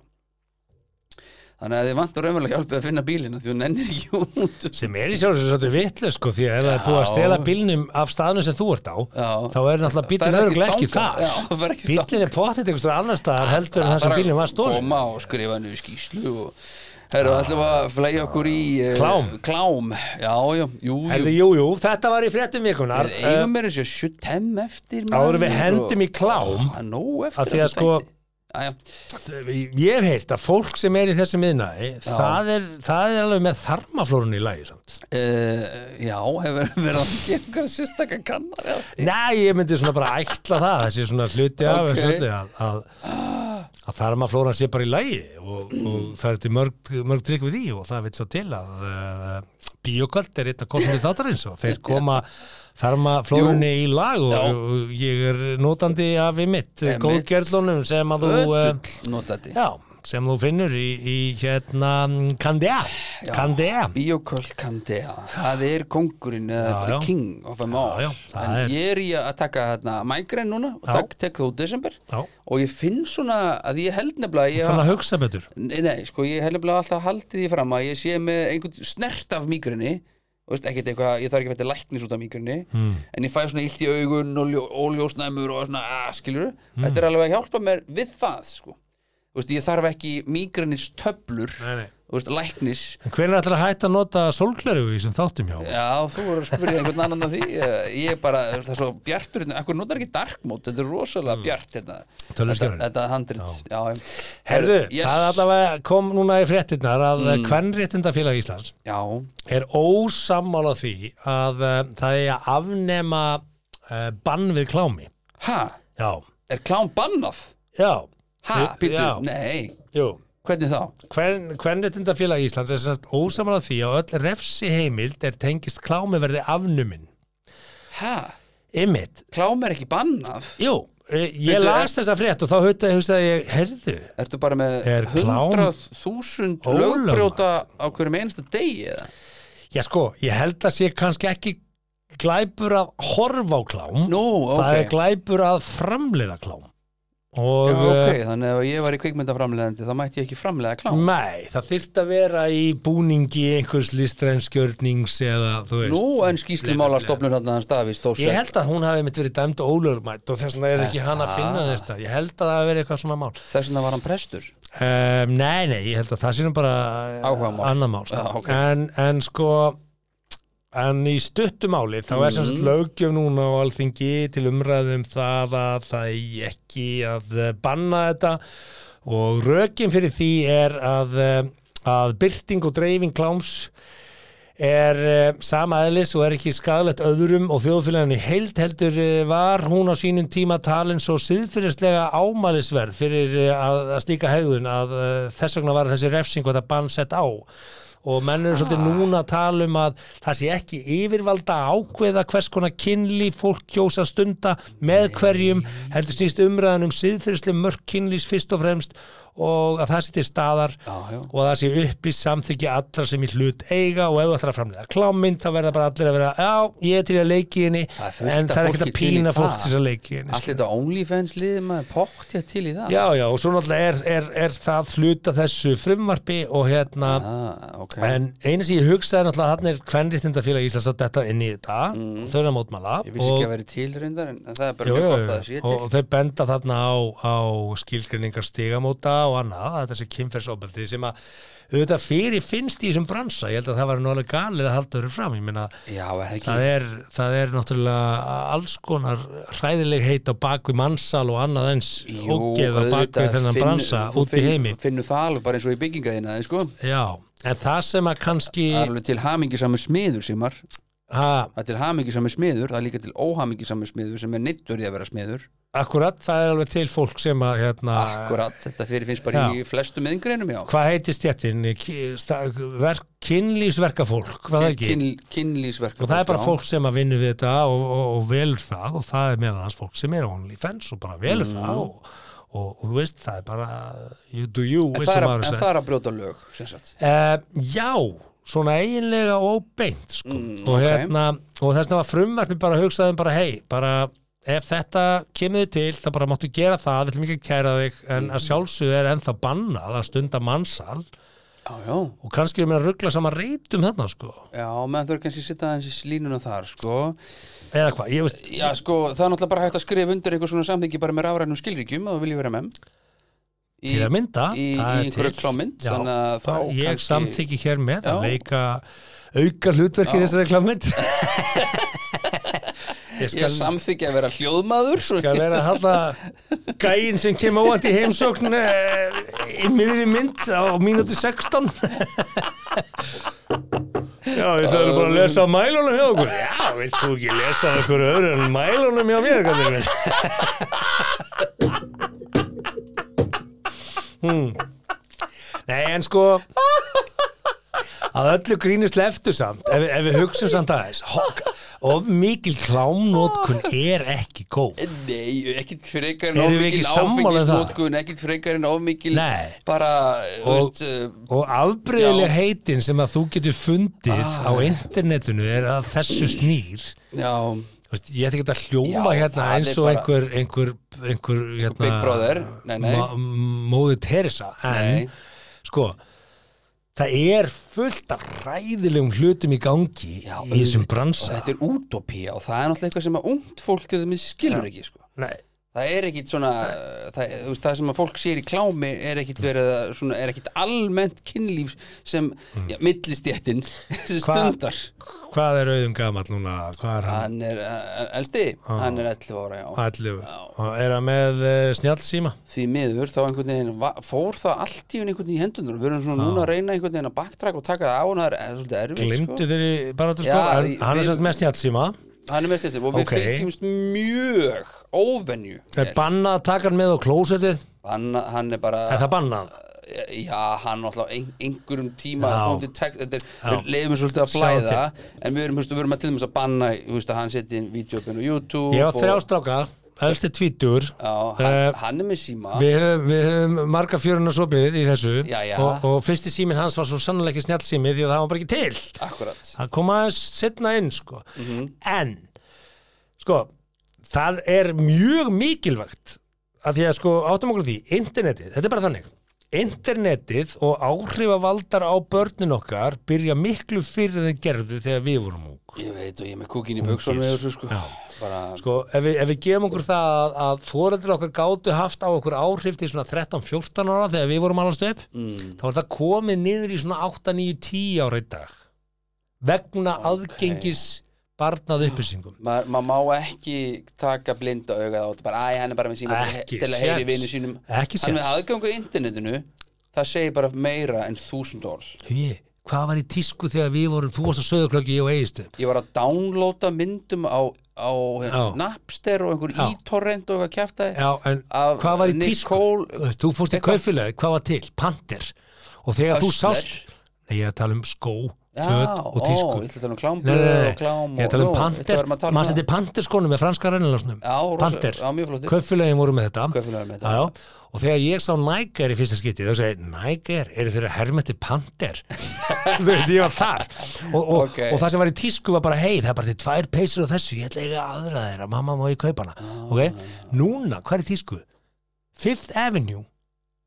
S4: Þannig að þið vantar raunverulega hjálpið að finna bílinn, að þú nennir ekki út.
S3: Sem er í sjálfur sem svolítið vitlis, sko, því að ef það er búið að stela bílnum af staðnum sem þú ert á,
S4: Já.
S3: þá er náttúrulega bílinn
S4: Það er
S3: örugglega ekki þar.
S4: þangað. Já, það er ekki þangað.
S3: Bílinn er pottitt einhvers staðar annar staðar heldur en það sem
S4: bara
S3: bílinn var stólinn.
S4: koma og skrifa henni í skýslu og herru, ætlum við að flæja okkur í uh,
S3: Klám.
S4: klám, já, já, jú,
S3: Herði,
S4: jú
S3: jú, jú, þetta var í fréttum vikunar.
S4: við eigum meira sér 75 eftir
S3: eh, Áður en við hendum í klám,
S4: að nóg eftir
S3: Af því að sko-
S4: Æja,
S3: Ég hef heyrt að fólk sem er í þessum miðnaði, það er, það er alveg með þarmaflórun í lagi samt.
S4: uh, já, hefur verið að gera einhverja sérstakar kannar já.
S3: Nei, ég myndi svona bara ætla það, þessi svona hluti af
S4: Ok.
S3: þessu öllu að, að, að þarmaflóran sé bara í lagi og, og það er til mörg, mörg trygg við því og það veit svo til að uh, bíoköld er eitt af kostandi þáttarins og þeir koma þarmaflórunni í lag og,
S4: Já.
S3: og ég er notandi af við mitt,
S4: Einmitt.
S3: góðgerlunum sem að þú... Uh,
S4: Ötull notandi
S3: Já, sem þú finnur í, í hérna Candea Candea
S4: Bíoköld Candea, það er kongurinn eða
S3: Já,
S4: the
S3: já.
S4: king of them all
S3: Já, já, það
S4: en
S3: er-
S4: ég er í að taka hérna mægrein núna og
S3: Já.
S4: tak, tek þú desember
S3: Já.
S4: og ég finn svona að ég held nefnilega að ég
S3: þannig að hugsa betur
S4: Nei, nei, sko, ég hef nefnilega alltaf haldið því fram að ég sé með einhvern snert af migrini og veist, ekkert eitthvað, ég þarf ekki að fæta læknis út af migrini
S3: Hmm.
S4: en ég fæ svona illt í augun og ljó, óljósnæmur og svona, að, skilur
S3: Hmm.
S4: þetta er alveg að hjálpa mér við það, sko Þú veist, ég þarf ekki migrinis töflur
S3: Nei, nei.
S4: þú veist, læknis
S3: En hvernig ætlar að hætta að nota sólgleru í þessum þáttum hjá?
S4: Já, þú voru að spyrja einhvern annan að því Eh, ég er bara, það er svo bjartur hérna, ekkur notar ekki dark mode, þetta er
S3: Hmm.
S4: rosalega bjart hérna, þetta,
S3: Tölvuskjárinn.
S4: þetta handrit Já, já.
S3: Herðu,
S4: Yes.
S3: það allavega kom núna í fréttinnar að mm. Kvenréttindafélag Íslands
S4: Já,
S3: er ósammála því að uh, það er að afnema uh, bann við klámi.
S4: ha,
S3: Já,
S4: er klám bannað?
S3: já,
S4: Ha,
S3: Nei,
S4: býtu,
S3: já.
S4: nei,
S3: jú.
S4: hvernig þá?
S3: Hvern, Kvenréttindafélag Íslands er semst ósammála því að öll refsi heimild er tengist klámi verði afnumin.
S4: Ha,
S3: Ymmit,
S4: klám er ekki bannað
S3: jú, eh, ég
S4: Bíddu,
S3: las
S4: er-
S3: þessa frétt og þá hugsaði ég, herðu,
S4: Ertu bara með
S3: Er klám
S4: 100.000
S3: ólögmætt?
S4: lögbrjóta á hverjum einasta degi eða?
S3: Já sko, ég held að sé kannski ekki glæpur að horfa á klám
S4: Nú,
S3: það er
S4: ok,
S3: glæpur að framleiða klám og
S4: Já,
S3: eh,
S4: ok, þannig að ef ég var í kvikmyndaframlegandi þá mætti ég ekki framlega klám
S3: nei, það þyrft að vera í búningi einhvers listrænskjörnings eða þú veist
S4: Nú, en skýslumála stofnun hann hans Davís Tórsek
S3: Ég held að hún hafi mitt verið dæmd og ólögmætt og þess vegna er ekki hann að
S4: Aha.
S3: finna þetta Ég held að það hafi verið eitthvað svona mál
S4: Þess vegna var hann prestur
S3: um, Nei, nei, ég held að það sé nú bara eh,
S4: Áhugamál.
S3: annað mál sko.
S4: Já, ok.
S3: en, en sko en í stuttumáli þá er sem sagt
S4: Mhm.
S3: löggjöf núna á alþingi til umræðum það að það eigi ekki að eh, banna þetta og rökin fyrir því er að, eh, að byrting og dreifing kláms er uh, sama eðlis og er ekki skadalegt öðrum og þjóðfélaginu heild heldur uh, var hún á sínum tíma talin svo síðfyrirslega ámælisverð fyrir uh, að, að slíka hegðun að uh, þess vegna var þessi refsing og þetta bann sett á og menn eru
S4: Ah.
S3: svolítið núna að tala um að það sé ekki yfirvalda að ákveða hvers konar kynlí fólk kjósa að stunda með hverjum heldur snýst umræðan um síðfyrirslega mörg kynlís fyrst og fremst og að það sé til staðar
S4: Já, já.
S3: og að það sé upplýst samþykki allra sem í hlut eiga og ef þú ætlar að framlega klámynd þá verða bara allir að vera já, ég er til að leiki henni
S4: Það er fullt af
S3: en það er ekkert
S4: fólki
S3: að
S4: til í
S3: pína
S4: það.
S3: fólk til þess að leiki henni sko.
S4: Allt þetta OnlyFans liði maður poktja til í það
S3: já, já, og svo náttúrulega er, er, er það hluta þessu frumvarpi og hérna
S4: ah, ok
S3: en eina sem ég hugsaði náttúrulega hann er kvenréttindafélag Íslands að detta inn í þetta og þau eru að mótmala
S4: Mm. Ég vissi ekki
S3: og-
S4: að vera til reyndar en en það er bara
S3: Jú,
S4: mjög
S3: jú,
S4: gott að það sé
S3: jú.
S4: til
S3: og þau benda þarna á, á skilgreiningar stigamóta og annað, þetta sé kynferðsofbeldi sem að auðvitað fyrir finnst í þessum bransa, ég held að það var nú alveg galið að halda öru fram, ég meina
S4: Já, eða ekki
S3: það er, það er náttúrulega alls konar hræðileg heit á bakvið mannsal og annað eins
S4: Jú,
S3: ógeð á bakvið
S4: auðvitað,
S3: þennan
S4: finn-
S3: bransa
S4: þú
S3: út í
S4: finn-
S3: heimi
S4: finnur það alveg bara eins og í bygginga þína sko.
S3: já, en það sem að kannski
S4: það er alveg til hamingisamur smiður Sigmar.
S3: ha,
S4: það er til hamingisamur smiður það er líka til óhamingisamur smiður sem er neittur í að vera smiður
S3: akkurat, það er alveg til fólk sem að hérna,
S4: akkurat, þetta fyrir finnst bara í flestum yðingreinum já
S3: hvað heitir stjættin verk, kynlífsverkafólk var það ekki?
S4: Kyn- kynlífsverk
S3: og það er bara fólk sem að vinna við þetta og, og, og velur það og það er meðan hans fólk sem er á OnlyFans og bara
S4: Mm.
S3: velur það og, og, og þú veist, það er bara you do you,
S4: en
S3: eins og
S4: það er,
S3: maður
S4: að- en
S3: sagði.
S4: það er að brjóta lög sem sagt.
S3: Eh, já, svona eiginlega og óbeint sko.
S4: Mm,
S3: og
S4: ok.
S3: hérna, og þess að var frumvarpið bara hugsaðum bara hei, bara ef þetta kemur þið til, þá bara máttu gera það við ætlum ekki að kæra þig,
S4: Mm.
S3: en að sjálfsögðu er ennþá bannað að stunda mannsal
S4: já, já,
S3: og kannski erum við að ruggla saman reytum þarna sko,
S4: já, menn þau kannski sitta aðeins í línuna þar sko.
S3: eða hvað, ég veist
S4: já, sko, það er náttúrulega bara hægt að skrifa undir einhver svona samþyggi bara með rafrænum skilríkjum og þú viljið vera með í,
S3: til að mynda
S4: í, í
S3: það er
S4: einhverju
S3: til.
S4: klámynd
S3: Já,
S4: þannig að þá
S3: það- ég
S4: kannski-
S3: samþyggi hér með að
S4: Já.
S3: leika auka hlutverki
S4: Já.
S3: þessari klámynd ég
S4: Ég
S3: skal,
S4: samþykja að vera hljóðmaður svo
S3: skal vera að halda gæin sem kemur óvænt í heimsókn eh, í miðri mynd á mínúti 16 já, ég þarf bara að lesa á mælunum hjá okkur já, vilt þú ekki lesa á okkur öðru en mælunum hjá mér kallinn minn? Hmm. Nei, en sko að öllu grínu sleftu samt ef, við- ef við hugsum samt aðeins ho- of mikil klámnótkun er ekki góð
S4: Nei, ekkit frekar en
S3: Erum við
S4: ofmikil
S3: ekki sammála um það?
S4: áfengisnótkun ekkit frekar en ofmikil
S3: Nei.
S4: bara, þú
S3: Og-
S4: veist uh,
S3: og afbreyðileg heitin sem að þú getur fundið
S4: Ah.
S3: á internetinu er að þessu snýr
S4: já,
S3: Þú veist, ég ætti ekki að hljóma
S4: Já,
S3: hérna
S4: það er
S3: eins og
S4: bara-
S3: einhver, einhver, einhver hérna,
S4: Big Brother. Nei, nei.
S3: ma- móðir Teresa en
S4: Nei.
S3: sko það er fullt af ræðilegum hlutum í gangi
S4: Já,
S3: í þessum
S4: auðvitað. og
S3: bransa
S4: þetta er útopía og það er náttúrulega eitthvað sem að ungt fólk til þeim skilur ekki sko.
S3: Nei,
S4: það er ekkit svona það, þú veist, það sem að fólk sér í klámi er ekkit, verið, að- svona, er ekkit almennt kynlíf sem mm. já, millistjættin sem stundar
S3: hvað er auðum gamall núna hvað er hann,
S4: hann er uh, elsti, hann er 11 ára já.
S3: allu er hann með uh, snjálfsíma
S4: því miður þá einhvern veginn va- fór það allt í hún einhvern veginn í hendunar við erum svona núna að reyna einhvern veginn að backtrack og taka það á hann það er er svolítið erfitt
S3: glimtu
S4: sko.
S3: þeir í baráttu sko
S4: Já,
S3: hann,
S4: í-
S3: hann er
S4: við-
S3: sérst með snjálfsíma
S4: hann er mest eitthvað og við
S3: Ok.
S4: fylgjumst mjög óvenju
S3: er bannað að taka hann með á klósetið
S4: hann, hann er bara
S3: er það bannað
S4: já, hann alltaf ein, einhverjum tíma
S3: Já.
S4: hóndi tek, þetta er,
S3: Já.
S4: við leiðum svolítið að
S3: Sjá
S4: flæða en við erum, hústu, við erum að til dæmis að banna hústu, hann setja inn videoöpun á YouTube
S3: ég var
S4: og-
S3: þrjá stráka, elsti tvítur
S4: já, hann,
S3: Eh,
S4: hann er með síma
S3: Við höfum, við höfum marga fjöruna sopið í þessu
S4: Já, já.
S3: Og, og fyrsti síminn hans var svo sannlega ekki snjall sími því að það var bara ekki til
S4: akkurat
S3: það kom aðeins setna inn sko.
S4: Mhm.
S3: en sko, það er mjög mikilvægt að því að sko áttum okkur á því, internetið, þetta er bara þannig internetið og áhrifavaldar á börnin okkar byrja miklu fyrir en þeir gerðu þegar við vorum ung
S4: ég veit og ég er með kúkin í buksunum
S3: Ungir.
S4: yfir þessu, sko. bara
S3: Sko, ef við, ef við gefum okkur það að, að fóreldrar okkar gátu haft á okkur áhrif til svona 13-14 ára þegar við vorum alveg stöp,
S4: mm,
S3: þá er það komið niður í svona 8-9-10 ára í dag vegna aðgengis barnað upplýsingum.
S4: maður ma má ekki taka blinda augað á þetta bara, æ, hann er bara með síma til-
S3: Ekki
S4: til að heyri
S3: séns.
S4: vinnu sínum
S3: Ekki
S4: hann er með
S3: séns.
S4: aðgöngu í internetinu það segir bara meira en þúsund orð
S3: Hugi, hvað var í tísku þegar við vorum, þú varst á söðuklöki, ég og eigistu?
S4: ég var að downloada myndum á, á hérna,
S3: Já.
S4: Napster og einhver
S3: Já.
S4: e-torrent og eitthvað kjæfta
S3: Já, en
S4: Af
S3: hvað var í tísku?
S4: Nicole-
S3: Þú veist, Þú fórst í
S4: Eitthvað.
S3: kaufélagi, hvað var til? Panter. Og þegar þú
S4: Hustler.
S3: sást, nei, ég er að tala um skó, föt
S4: Já,
S3: og tísku.
S4: ó, ég ætla að tala um klám,
S3: Nei, nei, nei,
S4: blöð og klám
S3: Ég er að tala um
S4: og- Jú, þetta
S3: panter,
S4: varum að tala um
S3: maður
S4: það.
S3: þetta er panterskónum með franska rennilásnum
S4: Já, rosa-
S3: Panter,
S4: já, mjög flottir.
S3: kaupfélagin voru með þetta
S4: Kaupfélögin með þetta.
S3: Já, já. Og þegar ég sá Niger í fyrsta skipti þá segi, Niger, eru þeirra hermeti panter? Þú veist, ég var þar og, og,
S4: Ok.
S3: og það sem var í tísku var bara, hei, það er bara til tvær peysur og þessu, ég ætla eiga aðra þeirra mamma má ég kaupa hana,
S4: Ah.
S3: ok? Núna, hvað er í tísku? Fifth Avenue,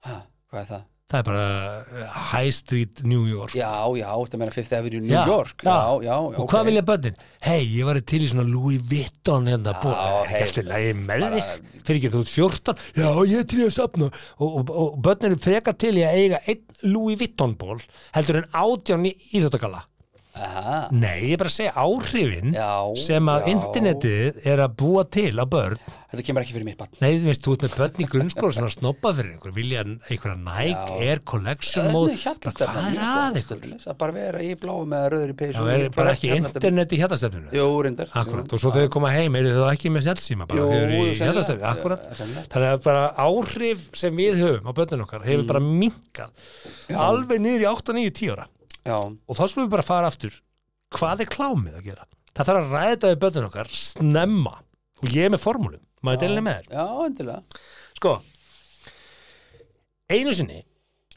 S4: Ha, hvað er það?
S3: það er bara uh, High Street New York
S4: já, já, þetta meina Fifth Avenue New
S3: Já,
S4: York já,
S3: já.
S4: já,
S3: Og hvað vilja börnin? Hei, ég var til í svona Louis Vuitton hérna
S4: Já,
S3: búið.
S4: hey,
S3: Gætti lægi með
S4: bara-
S3: þig. Fyrir ekki þú ert 14. Já, ég er til í að sapna. Og, og, og börnin er freka til í að eiga einn Louis Vuitton ból heldur en átján í íþjóttakalla.
S4: aha,
S3: Nei, ég er bara að segja áhrifin
S4: Já,
S3: sem að
S4: já.
S3: internetið er að búa til á börn.
S4: þetta kemur ekki fyrir mitt bann
S3: Nei, þú veist, þú ert með börn í grunnskóla sem að snoppa fyrir einhver, vilja einhverja Nike Air Collection mót. Bara Hvað er að ykkur?
S4: að bara vera í bláum eða rauður í peysu
S3: Það er bara ekki internet í hjartastefnunum.
S4: jú, reyndar
S3: Akkurat,
S4: Jú.
S3: og svo þegar þau koma heim eru þau þá ekki með snjálfsíma bara
S4: Jú,
S3: þau eru
S4: jú,
S3: í
S4: sennilega.
S3: hjartastæði, akkurat
S4: Ja, sennilega.
S3: þannig að bara áhrif sem við höfum á börnin okkar
S4: Mm.
S3: hefur bara minkað alveg niður í 8, 9, 10 ára
S4: já,
S3: og þá slum við bara fara aftur hvað er klámið að gera? Það þarf að ræða þetta við börnin okkar snemma og ég er með formúlum, maður delinni með þér
S4: já, endilega
S3: sko, einu sinni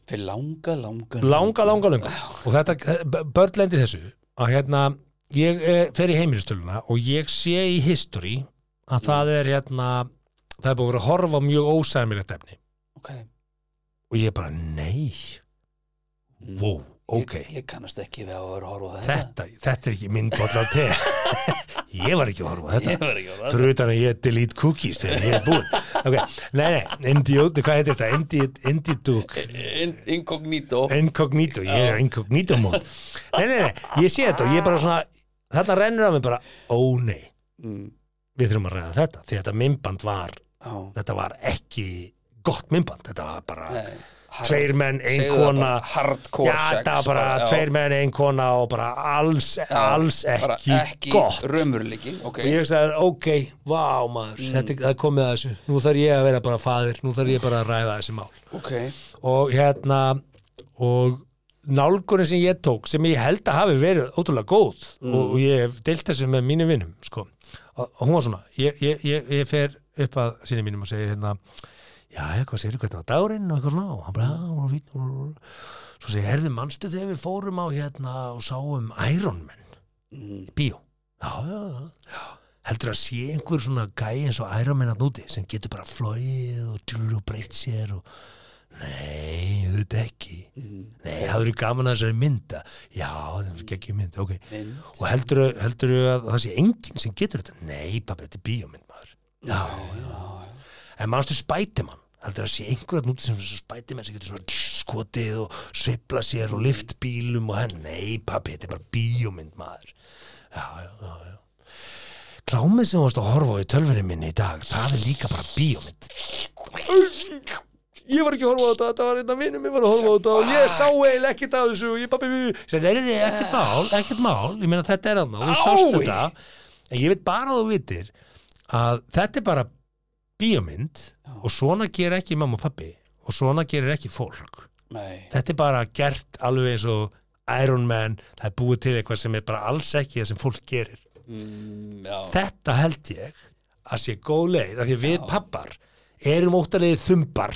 S4: fyrir langa, langa
S3: langa, langa, langa og þetta, eh, b- börn lendi í þessu að hérna, ég eh, fer í heimilistöluna og ég sé í history að það er hérna það er búið að vera að horfa á mjög ósæmilegt efni
S4: ok,
S3: og ég bara, nei wow, ok
S4: ég, ég kannast ekki við að vera að horfa á þetta
S3: þetta, þetta er ekki minn bolla te ég var ekki að horfa á þetta
S4: var ekki að
S3: fyrir utan að ég delete cookies þegar ég er búinn ok, nei, nei, indióti, hvað heitir þetta Indi- indidúk
S4: In, incognito
S3: incognito, ég er á incognito mód nei, nei, nei, ég sé þetta og ég bara svona þarna rennur að mig bara, ó nei
S4: mm.
S3: við þurfum að ræða þetta, því þetta mymband var
S4: á,
S3: þetta var ekki gott mymband, þetta var bara
S4: nei, hard-
S3: tveir menn, ein
S4: segðu það
S3: kona
S4: bara, hardcore
S3: já,
S4: sex
S3: þetta var bara,
S4: bara, já.
S3: tveir menn, ein kona og bara alls, alls
S4: bara
S3: ekki,
S4: ekki
S3: gott
S4: raumurleiki ok,
S3: og ég veist að, ok, vá
S4: Mm.
S3: maður þetta, það er komið að þessu, nú þarf ég að vera bara faðir, nú þarf ég bara að ræða þessi mál
S4: ok
S3: og hérna og nálgunin sem ég tók sem ég held að hafi verið ótrúlega góð og og ég hef deilt þessu með mínum vinnum sko. og, og hún var svona ég, ég, ég, ég fer upp að sinni mínum og segir hérna já, hvað segir hvernig var dagurinn og eitthvað svona og hann bara, já, hún var fín svo segir, herði, manstu þegar við fórum á hérna og sáum Iron Man mm. bíó já, já, já, já heldur að sé einhver svona gæi eins og Iron Man að núti sem getur bara flóið og tjúlu og breytt sér og nei, auðvitað ekki
S4: mm,
S3: nei, það eru gaman að þessari mynda já, það er ekki mynd, ok mynd. og heldur, heldur að það sé enginn sem getur þetta, nei pappi, þetta er bíómynd maður já, já, en mannstu spætimann heldur að sé einhverjum út sem þessu spætimenn sem getur svona tss, skotið og sveifla sér og lift bílum og henn nei pappi, þetta er bara bíómynd maður já, já, já, já klámið sem þú varst að horfa á í tölfunni minni í dag það er líka bara bíómynd ég var ekki að horfa á þetta þetta var einn af vinnum ég var að horfa á þetta og ég sá eiginlega ekkert af þessu og ég pappi mjög það er ekkert mál, ekkert mál ég meina þetta er annað, þú sást
S4: Ái.
S3: þetta en ég veit bara að þú vitir að þetta er bara bíómynd og svona gerir ekki mamma og pappi og svona gerir ekki fólk
S4: Nei.
S3: þetta er bara gert alveg eins og Iron Man, það er búið til eitthvað sem er bara alls ekki það sem fólk gerir
S4: Mm,
S3: þetta held ég að sé góð leið, af því að við pappar erum óttalegið þumbar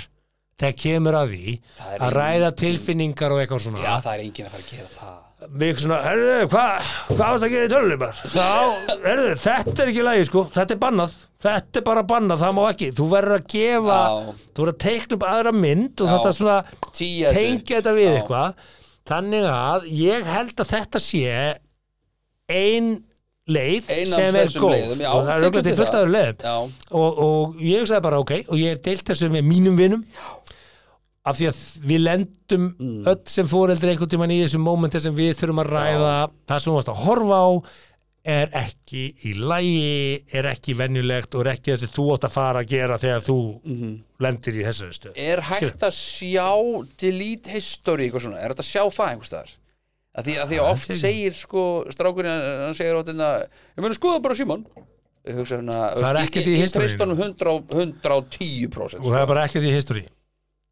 S3: þegar kemur að því
S4: Það er
S3: að ræða tilfinningar og eitthvað svona
S4: Já, það er enginn að fara að gera það
S3: við svona, herðu, hvað hva varst að gera í tölunumar? Þá, herðu, þetta er ekki lægi sko, þetta er bannað þetta er bara bannað, það má ekki þú verður að gefa,
S4: Já.
S3: þú verður að teikna upp aðra mynd og
S4: Já.
S3: þetta svona
S4: Tía
S3: tengja þetta við
S4: Já.
S3: eitthvað þannig að ég held að þetta sé ein leið
S4: Ein af
S3: sem er
S4: þessum
S3: góð
S4: leiðum, já,
S3: og það er
S4: tekur
S3: auðvitað
S4: til
S3: til fullt
S4: það.
S3: aður leið
S4: Já.
S3: og, og ég hugsaði bara ok og ég hef deilt þessu með mínum vinum af því að við lendum
S4: Mm.
S3: öll sem fóreldri einhvern tímann í þessum mómenti sem við þurfum að ræða það sem þú varst að horfa á er ekki í lægi er ekki venjulegt og er ekki þessi þú átt að fara að gera þegar þú lendir í þessari stöð
S4: Mhm. Er hægt að sjá delete history eitthvað svona, er hægt að sjá það einhvers staðar? Að því að, því að oft
S3: segir-
S4: segir sko, strákurinn, hann- hann segir ótt hérna, ég meina skoða bara Simon Ég hugsa hérna,
S3: Það er
S4: ég-
S3: ekkert
S4: ég-
S3: í
S4: ég
S3: history-inu.
S4: treysti honum 100 110%
S3: og það
S4: sko.
S3: er bara ekki því history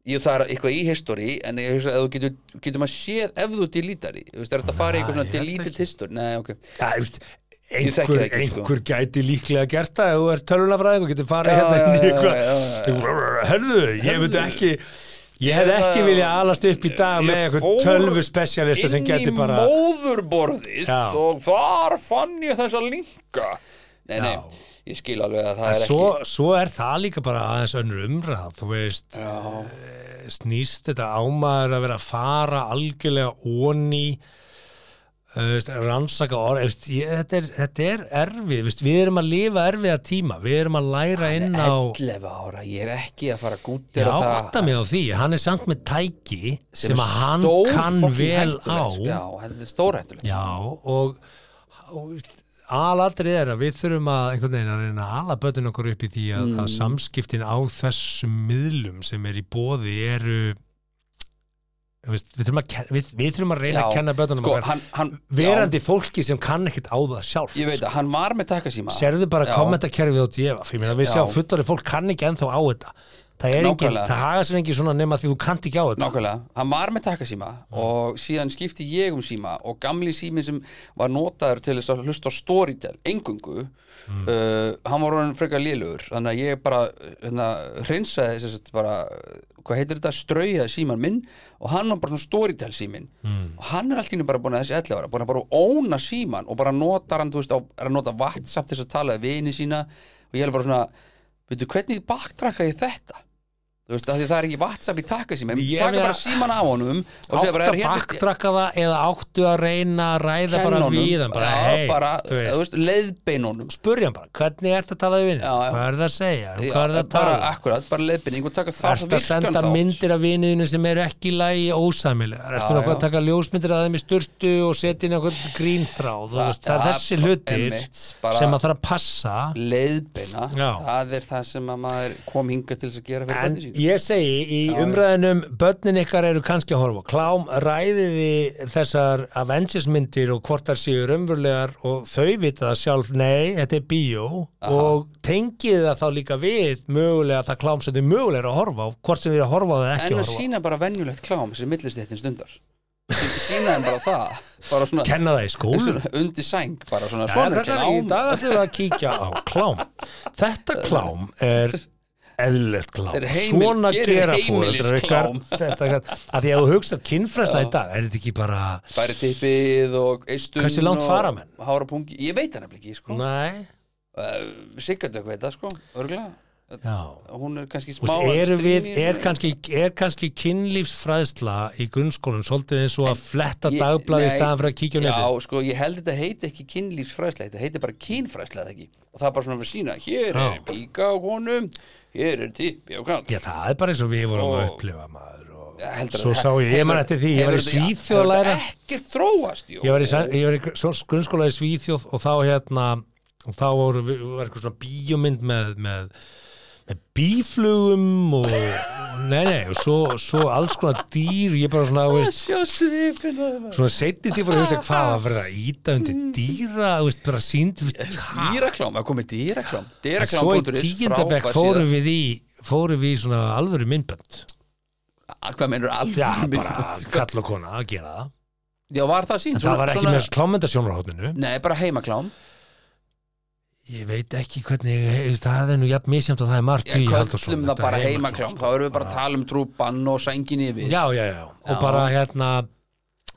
S4: Ég það er eitthvað í history en ég hugsa að þú getur, getur maður séð ef þú deletar því, þú veist, er þetta að fara í eitthvað svona
S3: Nei, ég held
S4: deleted
S3: ekki.
S4: history, nei, ok
S3: ja, veist,
S4: Ég þekki
S3: einhver,
S4: það ekki, sko.
S3: einhver gæti líklega gert það ef þú er tölunafræðing og getur farið hérna
S4: já,
S3: inn í
S4: já, já,
S3: eitthvað herðu, ég veit ekki ég hef ekki
S4: það-
S3: viljað alast upp í dag með
S4: Ég
S3: einhver
S4: fór
S3: tölvuspecialista sem geti bara
S4: inn í móðurborðið
S3: Já.
S4: og þar fann ég þessa linka nei, nei,
S3: Já.
S4: ég skil alveg að það er
S3: svo, svo er það líka bara aðeins önnur umræð þú veist eh, snýst þetta ámaður að vera að fara algjörlega onni eh, veist, rannsaka orð veist, ég, þetta, er, þetta er erfið veist, við erum að lifa erfiða tíma við erum að læra inn
S4: ekki
S3: á
S4: 11 ára, ég er ekki að fara að
S3: Já,
S4: gútera
S3: átta
S4: það
S3: mig á því, hann er samt með tæki sem,
S4: er
S3: að hann
S4: stór
S3: kann
S4: fucking
S3: vel á
S4: hættulegt, já, þetta er stórhættulegt
S3: Já, og, og aladrið er að við þurfum að einhvern veginn að reyna að ala bötin okkur upp í því að, að
S4: Mm.
S3: samskiptin á þessum miðlum sem er í bóði eru þú veist, við, þurfum að, ken- við, við þurfum að reyna
S4: Já,
S3: að kenna bötunum
S4: sko,
S3: okkar
S4: hann, hann,
S3: verandi fólki sem kann ekkit á það sjálf
S4: já, ég veit að hann var með takkasíma
S3: Serðu bara
S4: Já.
S3: kommentakerfið á djefa Fyrir mér að við
S4: Já.
S3: sjá fullari fólk kann ekki ennþá á þetta Það er engin,
S4: Nákvæmlega.
S3: það haga sér engin svona nema því þú kannt ekki á þetta
S4: Nákvæmlega, hann var með takkasíma og síðan skipti ég um síma og gamli sími sem var notaður til þess að hlusta á storytel, engungu
S3: Mm.
S4: uh, hann var orðin frekar lélugur þannig að ég bara hérna, hreinsaði þess að bara hvað heitir þetta, strauja síman minn og hann var bara svona storytel símin
S3: Hmm.
S4: og hann er allt í henni bara búin að þessi 11 ára búin að bara óna síman og bara notar hann, þú veist, á, er að nota WhatsApp til þess að tala við vini sína og ég er bara svona, veitu, hvernig baktrakka ég þetta? Þú veist, af því það er ekki WhatsApp í takka síma
S3: Ég
S4: taka
S3: meina-
S4: bara síman á honum og segja
S3: áttu
S4: bara,
S3: að
S4: er hérna
S3: baktrakka það eða áttu að reyna að ræða
S4: kenna
S3: bara
S4: honum.
S3: við hann bara,
S4: Já,
S3: hei,
S4: bara,
S3: þú
S4: þú
S3: veist
S4: veist, sko. leiðbein honum
S3: spurja hann bara, hvernig ertu að tala við vinni
S4: Já, já.
S3: hvað er það að segja, um
S4: Já,
S3: hvað er það að
S4: bara,
S3: tala
S4: akkurat, bara leiðbeining og taka það
S3: Ertu að senda myndir af viniðinu sem eru ekki í lagi ósamilega, ertu
S4: Já,
S3: nokkuð
S4: já.
S3: að taka ljósmyndir af þeim í sturtu og setja inn einhvern grínþráð, þú veist, það er þessi hlutir sem að þarf að passa
S4: leiðbeina,
S3: Já.
S4: það er það sem að maður kom hinga til þess að gera fyrir
S3: En
S4: bönni sín
S3: ég segi í umræðinum börnin ykkar eru kannski að horfa á klám ræðiði þessar Avengers myndir og hvort þar séu raunverulegar og þau vita það sjálf nei, þetta er bíó og tengið það þá líka við mögulega það klám sem þau mögulega er að horfa á hvort sem þau eru að horfa á það ekki
S4: en
S3: að
S4: að
S3: horfa á.
S4: sína bara venjulegt klám sem millist eitt stundar sí- sína þeim bara það bara svona,
S3: kenna það í skólum
S4: svona undir sæng bara svona,
S3: Jæja,
S4: svona
S3: krakkar, í
S4: klám.
S3: dag ætlum við að kíkja á klám Þetta klám er eðlilegt klám
S4: Er heimil-
S3: Svona
S4: hér er
S3: gera
S4: heimilisklám.
S3: fóreldrar ykkar þetta, að Því að þú hugsa kynfræsla í dag er þetta ekki bara
S4: færi tippið og eistun
S3: Hversu langt
S4: og
S3: fara menn?
S4: hárapungi, ég veit hann ekki sko.
S3: Nei,
S4: Sigardök veit það sko, örgulega
S3: já
S4: hún er kannski smá
S3: Vist, er,
S4: að
S3: við,
S4: stríða í
S3: er,
S4: svona-
S3: kannski, er kannski kynlífsfræðsla í grunnskólum svolítið eins og að fletta
S4: Ég-
S3: dagblaði í
S4: nei,
S3: staðan fyrir að kíkja á netið
S4: Já, sko, ég held þetta heiti ekki kynlífsfræðsla þetta heiti bara kynfræðsla eða ekki og það er bara svona fyrir sína, hér er
S3: Já.
S4: píka á konum hér er tippi á kant
S3: Já, það er bara eins og við vorum að
S4: Ó.
S3: upplifa maður og
S4: Heldur,
S3: Svo sá ég, ég man eftir því, ég var í Svíþjóð að læra
S4: ekkert þróast, jú
S3: ég var í, sæ- ég var í gr- svo- grunnskóla í Svíþjóð og þá hérna og þá voru, var eitthvað svona bíómynd með, með, með bíflugum og nei, nei, og svo, svo alls konar dýr ég bara svona, þú veist,
S4: sjá svipin á þeim. Hmm.
S3: svona setni til fyrir að hugsa hvað var verið að íta undir dýra, þú veist, bara sínd
S4: dýraklám, það komið dýraklám
S3: svo í
S4: dýraklám.is,
S3: tíundabæk
S4: frábær
S3: fórum
S4: síða.
S3: við í fórum við í svona alvöru myndbönd
S4: Að Ah, hvað mennur alveg
S3: já, bara
S4: sko.
S3: kall og kona að gera það
S4: já, var það sínt
S3: en það var ekki með klámyndasjónarhóttinu
S4: nei, bara heimaklám
S3: Ég veit ekki hvernig, þú veist, það er nú jafn misjæmt og það er margt
S4: ég
S3: í Halldórsson,
S4: köllum
S3: þetta
S4: það bara
S3: er
S4: heimaklám þá erum við bara að tala um trúbann og sængin yfir
S3: Já, já, já, og
S4: Já.
S3: bara hérna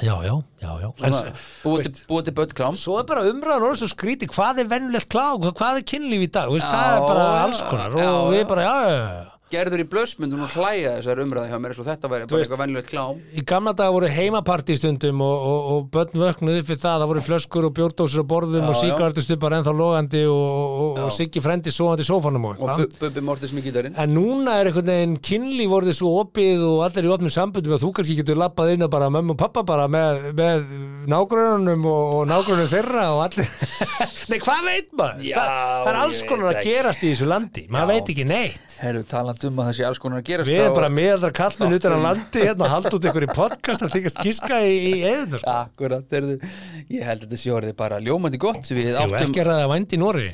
S3: Já, já, já, já en,
S4: Svona, búið til- búið til bötklám
S3: Svo er bara umræðan orðið svo skríti hvað er venjulegt klák, hvað er kynlíf í dag þú veist,
S4: Já,
S3: það er bara
S4: já,
S3: alls konar
S4: já,
S3: og við
S4: já.
S3: bara, já, já,
S4: gerður í blössmyndum og hlæja þessar umræði hjá mér eins og þetta væri bara
S3: veist-
S4: eitthvað venjulegt klám
S3: já Í gamla dag voru heimapartí stundum og, og, og börn vöknuði fyrir það, það voru flöskur og bjórdósir á borðum
S4: Já,
S3: og
S4: já.
S3: síkartustubbar ennþá logandi og, og, og Siggi frendi svoandi í sófanum og
S4: og
S3: eitthvað
S4: Bu- Bubbi Mortis með gítarinn
S3: En núna er einhvern veginn kynlíf orðið svo opið og allir í opnum sambundum að þú kannski getur lappað inn að bara mömmu og pappa bara með, með nágrununum og, og nágrunum þeirra og allir Nei, hvað veit maður?
S4: Já,
S3: það, það er alls
S4: ég
S3: konar
S4: veit
S3: að
S4: ekki.
S3: gerast í þessu landi maður veit ekki neitt
S4: Herru, talandi um að þessi alls konar að gerast
S3: Við
S4: þá-
S3: erum bara meðaldra kallin utan á landi hérna að halda út ykkur í podcast að þykast giska í, í eðunar
S4: Akkurat, herru, ég held að þetta sé orðið bara ljómandi gott Við
S3: Jú,
S4: áttum,
S3: ekki er það að vændi í Nóri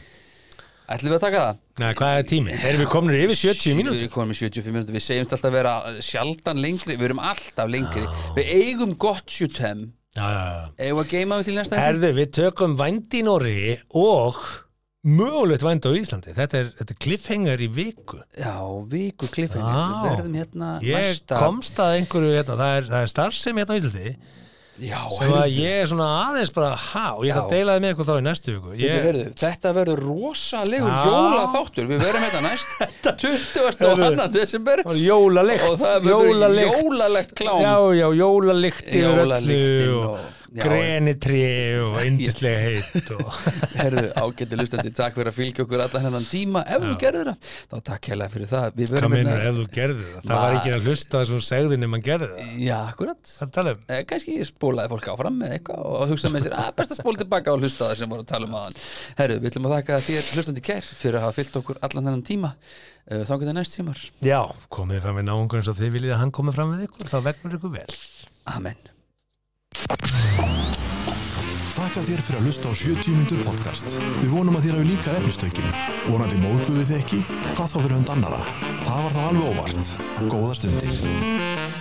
S4: ætlum við að taka það?
S3: Nei, hvað er tími? Erum við komin yfir 70
S4: Við
S3: mínútur?
S4: erum komin í 75 mínútur, við segjumst alltaf að vera sjaldan lengri Við erum alltaf lengri Við eigum gott 75
S3: Já, já, já
S4: Eigum við að geima við til næsta helgi?
S3: Herðu, við tökum vænd í Nóri og mögulegt vænd á Íslandi. Þetta er, þetta er cliffhanger í viku.
S4: Já, viku kliffin Við
S3: Já.
S4: verðum hérna
S3: Ég
S4: næsta
S3: komst að einhverju, hérna, það er, það er starfsemi hérna á Íslandi
S4: Já,
S3: sem
S4: heyrðu.
S3: að ég er svona aðeins bara, ha, og ég ætla að
S4: Já.
S3: deila það með ykkur þá í næstu viku.
S4: Ég...
S3: Ég,
S4: Heyrðu, þetta verður rosalegur
S3: Já.
S4: jólaþáttur Við verðum hérna næst 20. og 2. desember
S3: það var jólalikt,
S4: Og það verður
S3: jólalikt.
S4: jólalegt klám.
S3: Já, já, jólalikt yfir
S4: Jólalyktin
S3: öllu
S4: og-
S3: og,
S4: Já,
S3: og grenitri og yndislega heitt og...
S4: Herðu, ágættu lustandi, takk fyrir að fylgja okkur allan hennan tíma Ef þú gerður það, þá takk hella fyrir það Við
S3: Hvað
S4: verðum
S3: minnur
S4: hérna
S3: ef þú gerði það? Það var
S4: Ma-
S3: ekki að hlusta þessum segðin nema hann gerði það.
S4: Já, akkurat
S3: Það tala um.
S4: Eh, kannski spólaði fólk áfram með eitthvað og hugsa með sér að best að spóla tilbaka og hlusta það sem voru að tala um aðan Herru, við ætlum að þakka þér hlustandi kær fyrir að hafa fyllt okkur allan þennan tíma Eh, þá getur næst tímar,
S3: Já, komið fram við náungur eins og þið viljið að hann komið fram við ykkur, þá vegnur ykkur vel.
S4: amen
S2: Þakka þér fyrir að hlusta á 70 myndur podcast. Við vonum að þér hafi líka efnistökin. Vonandi móðguðu þið ekki? Hvað þá fyrir hund annara? Það var þá alveg óvart. Góða stundir.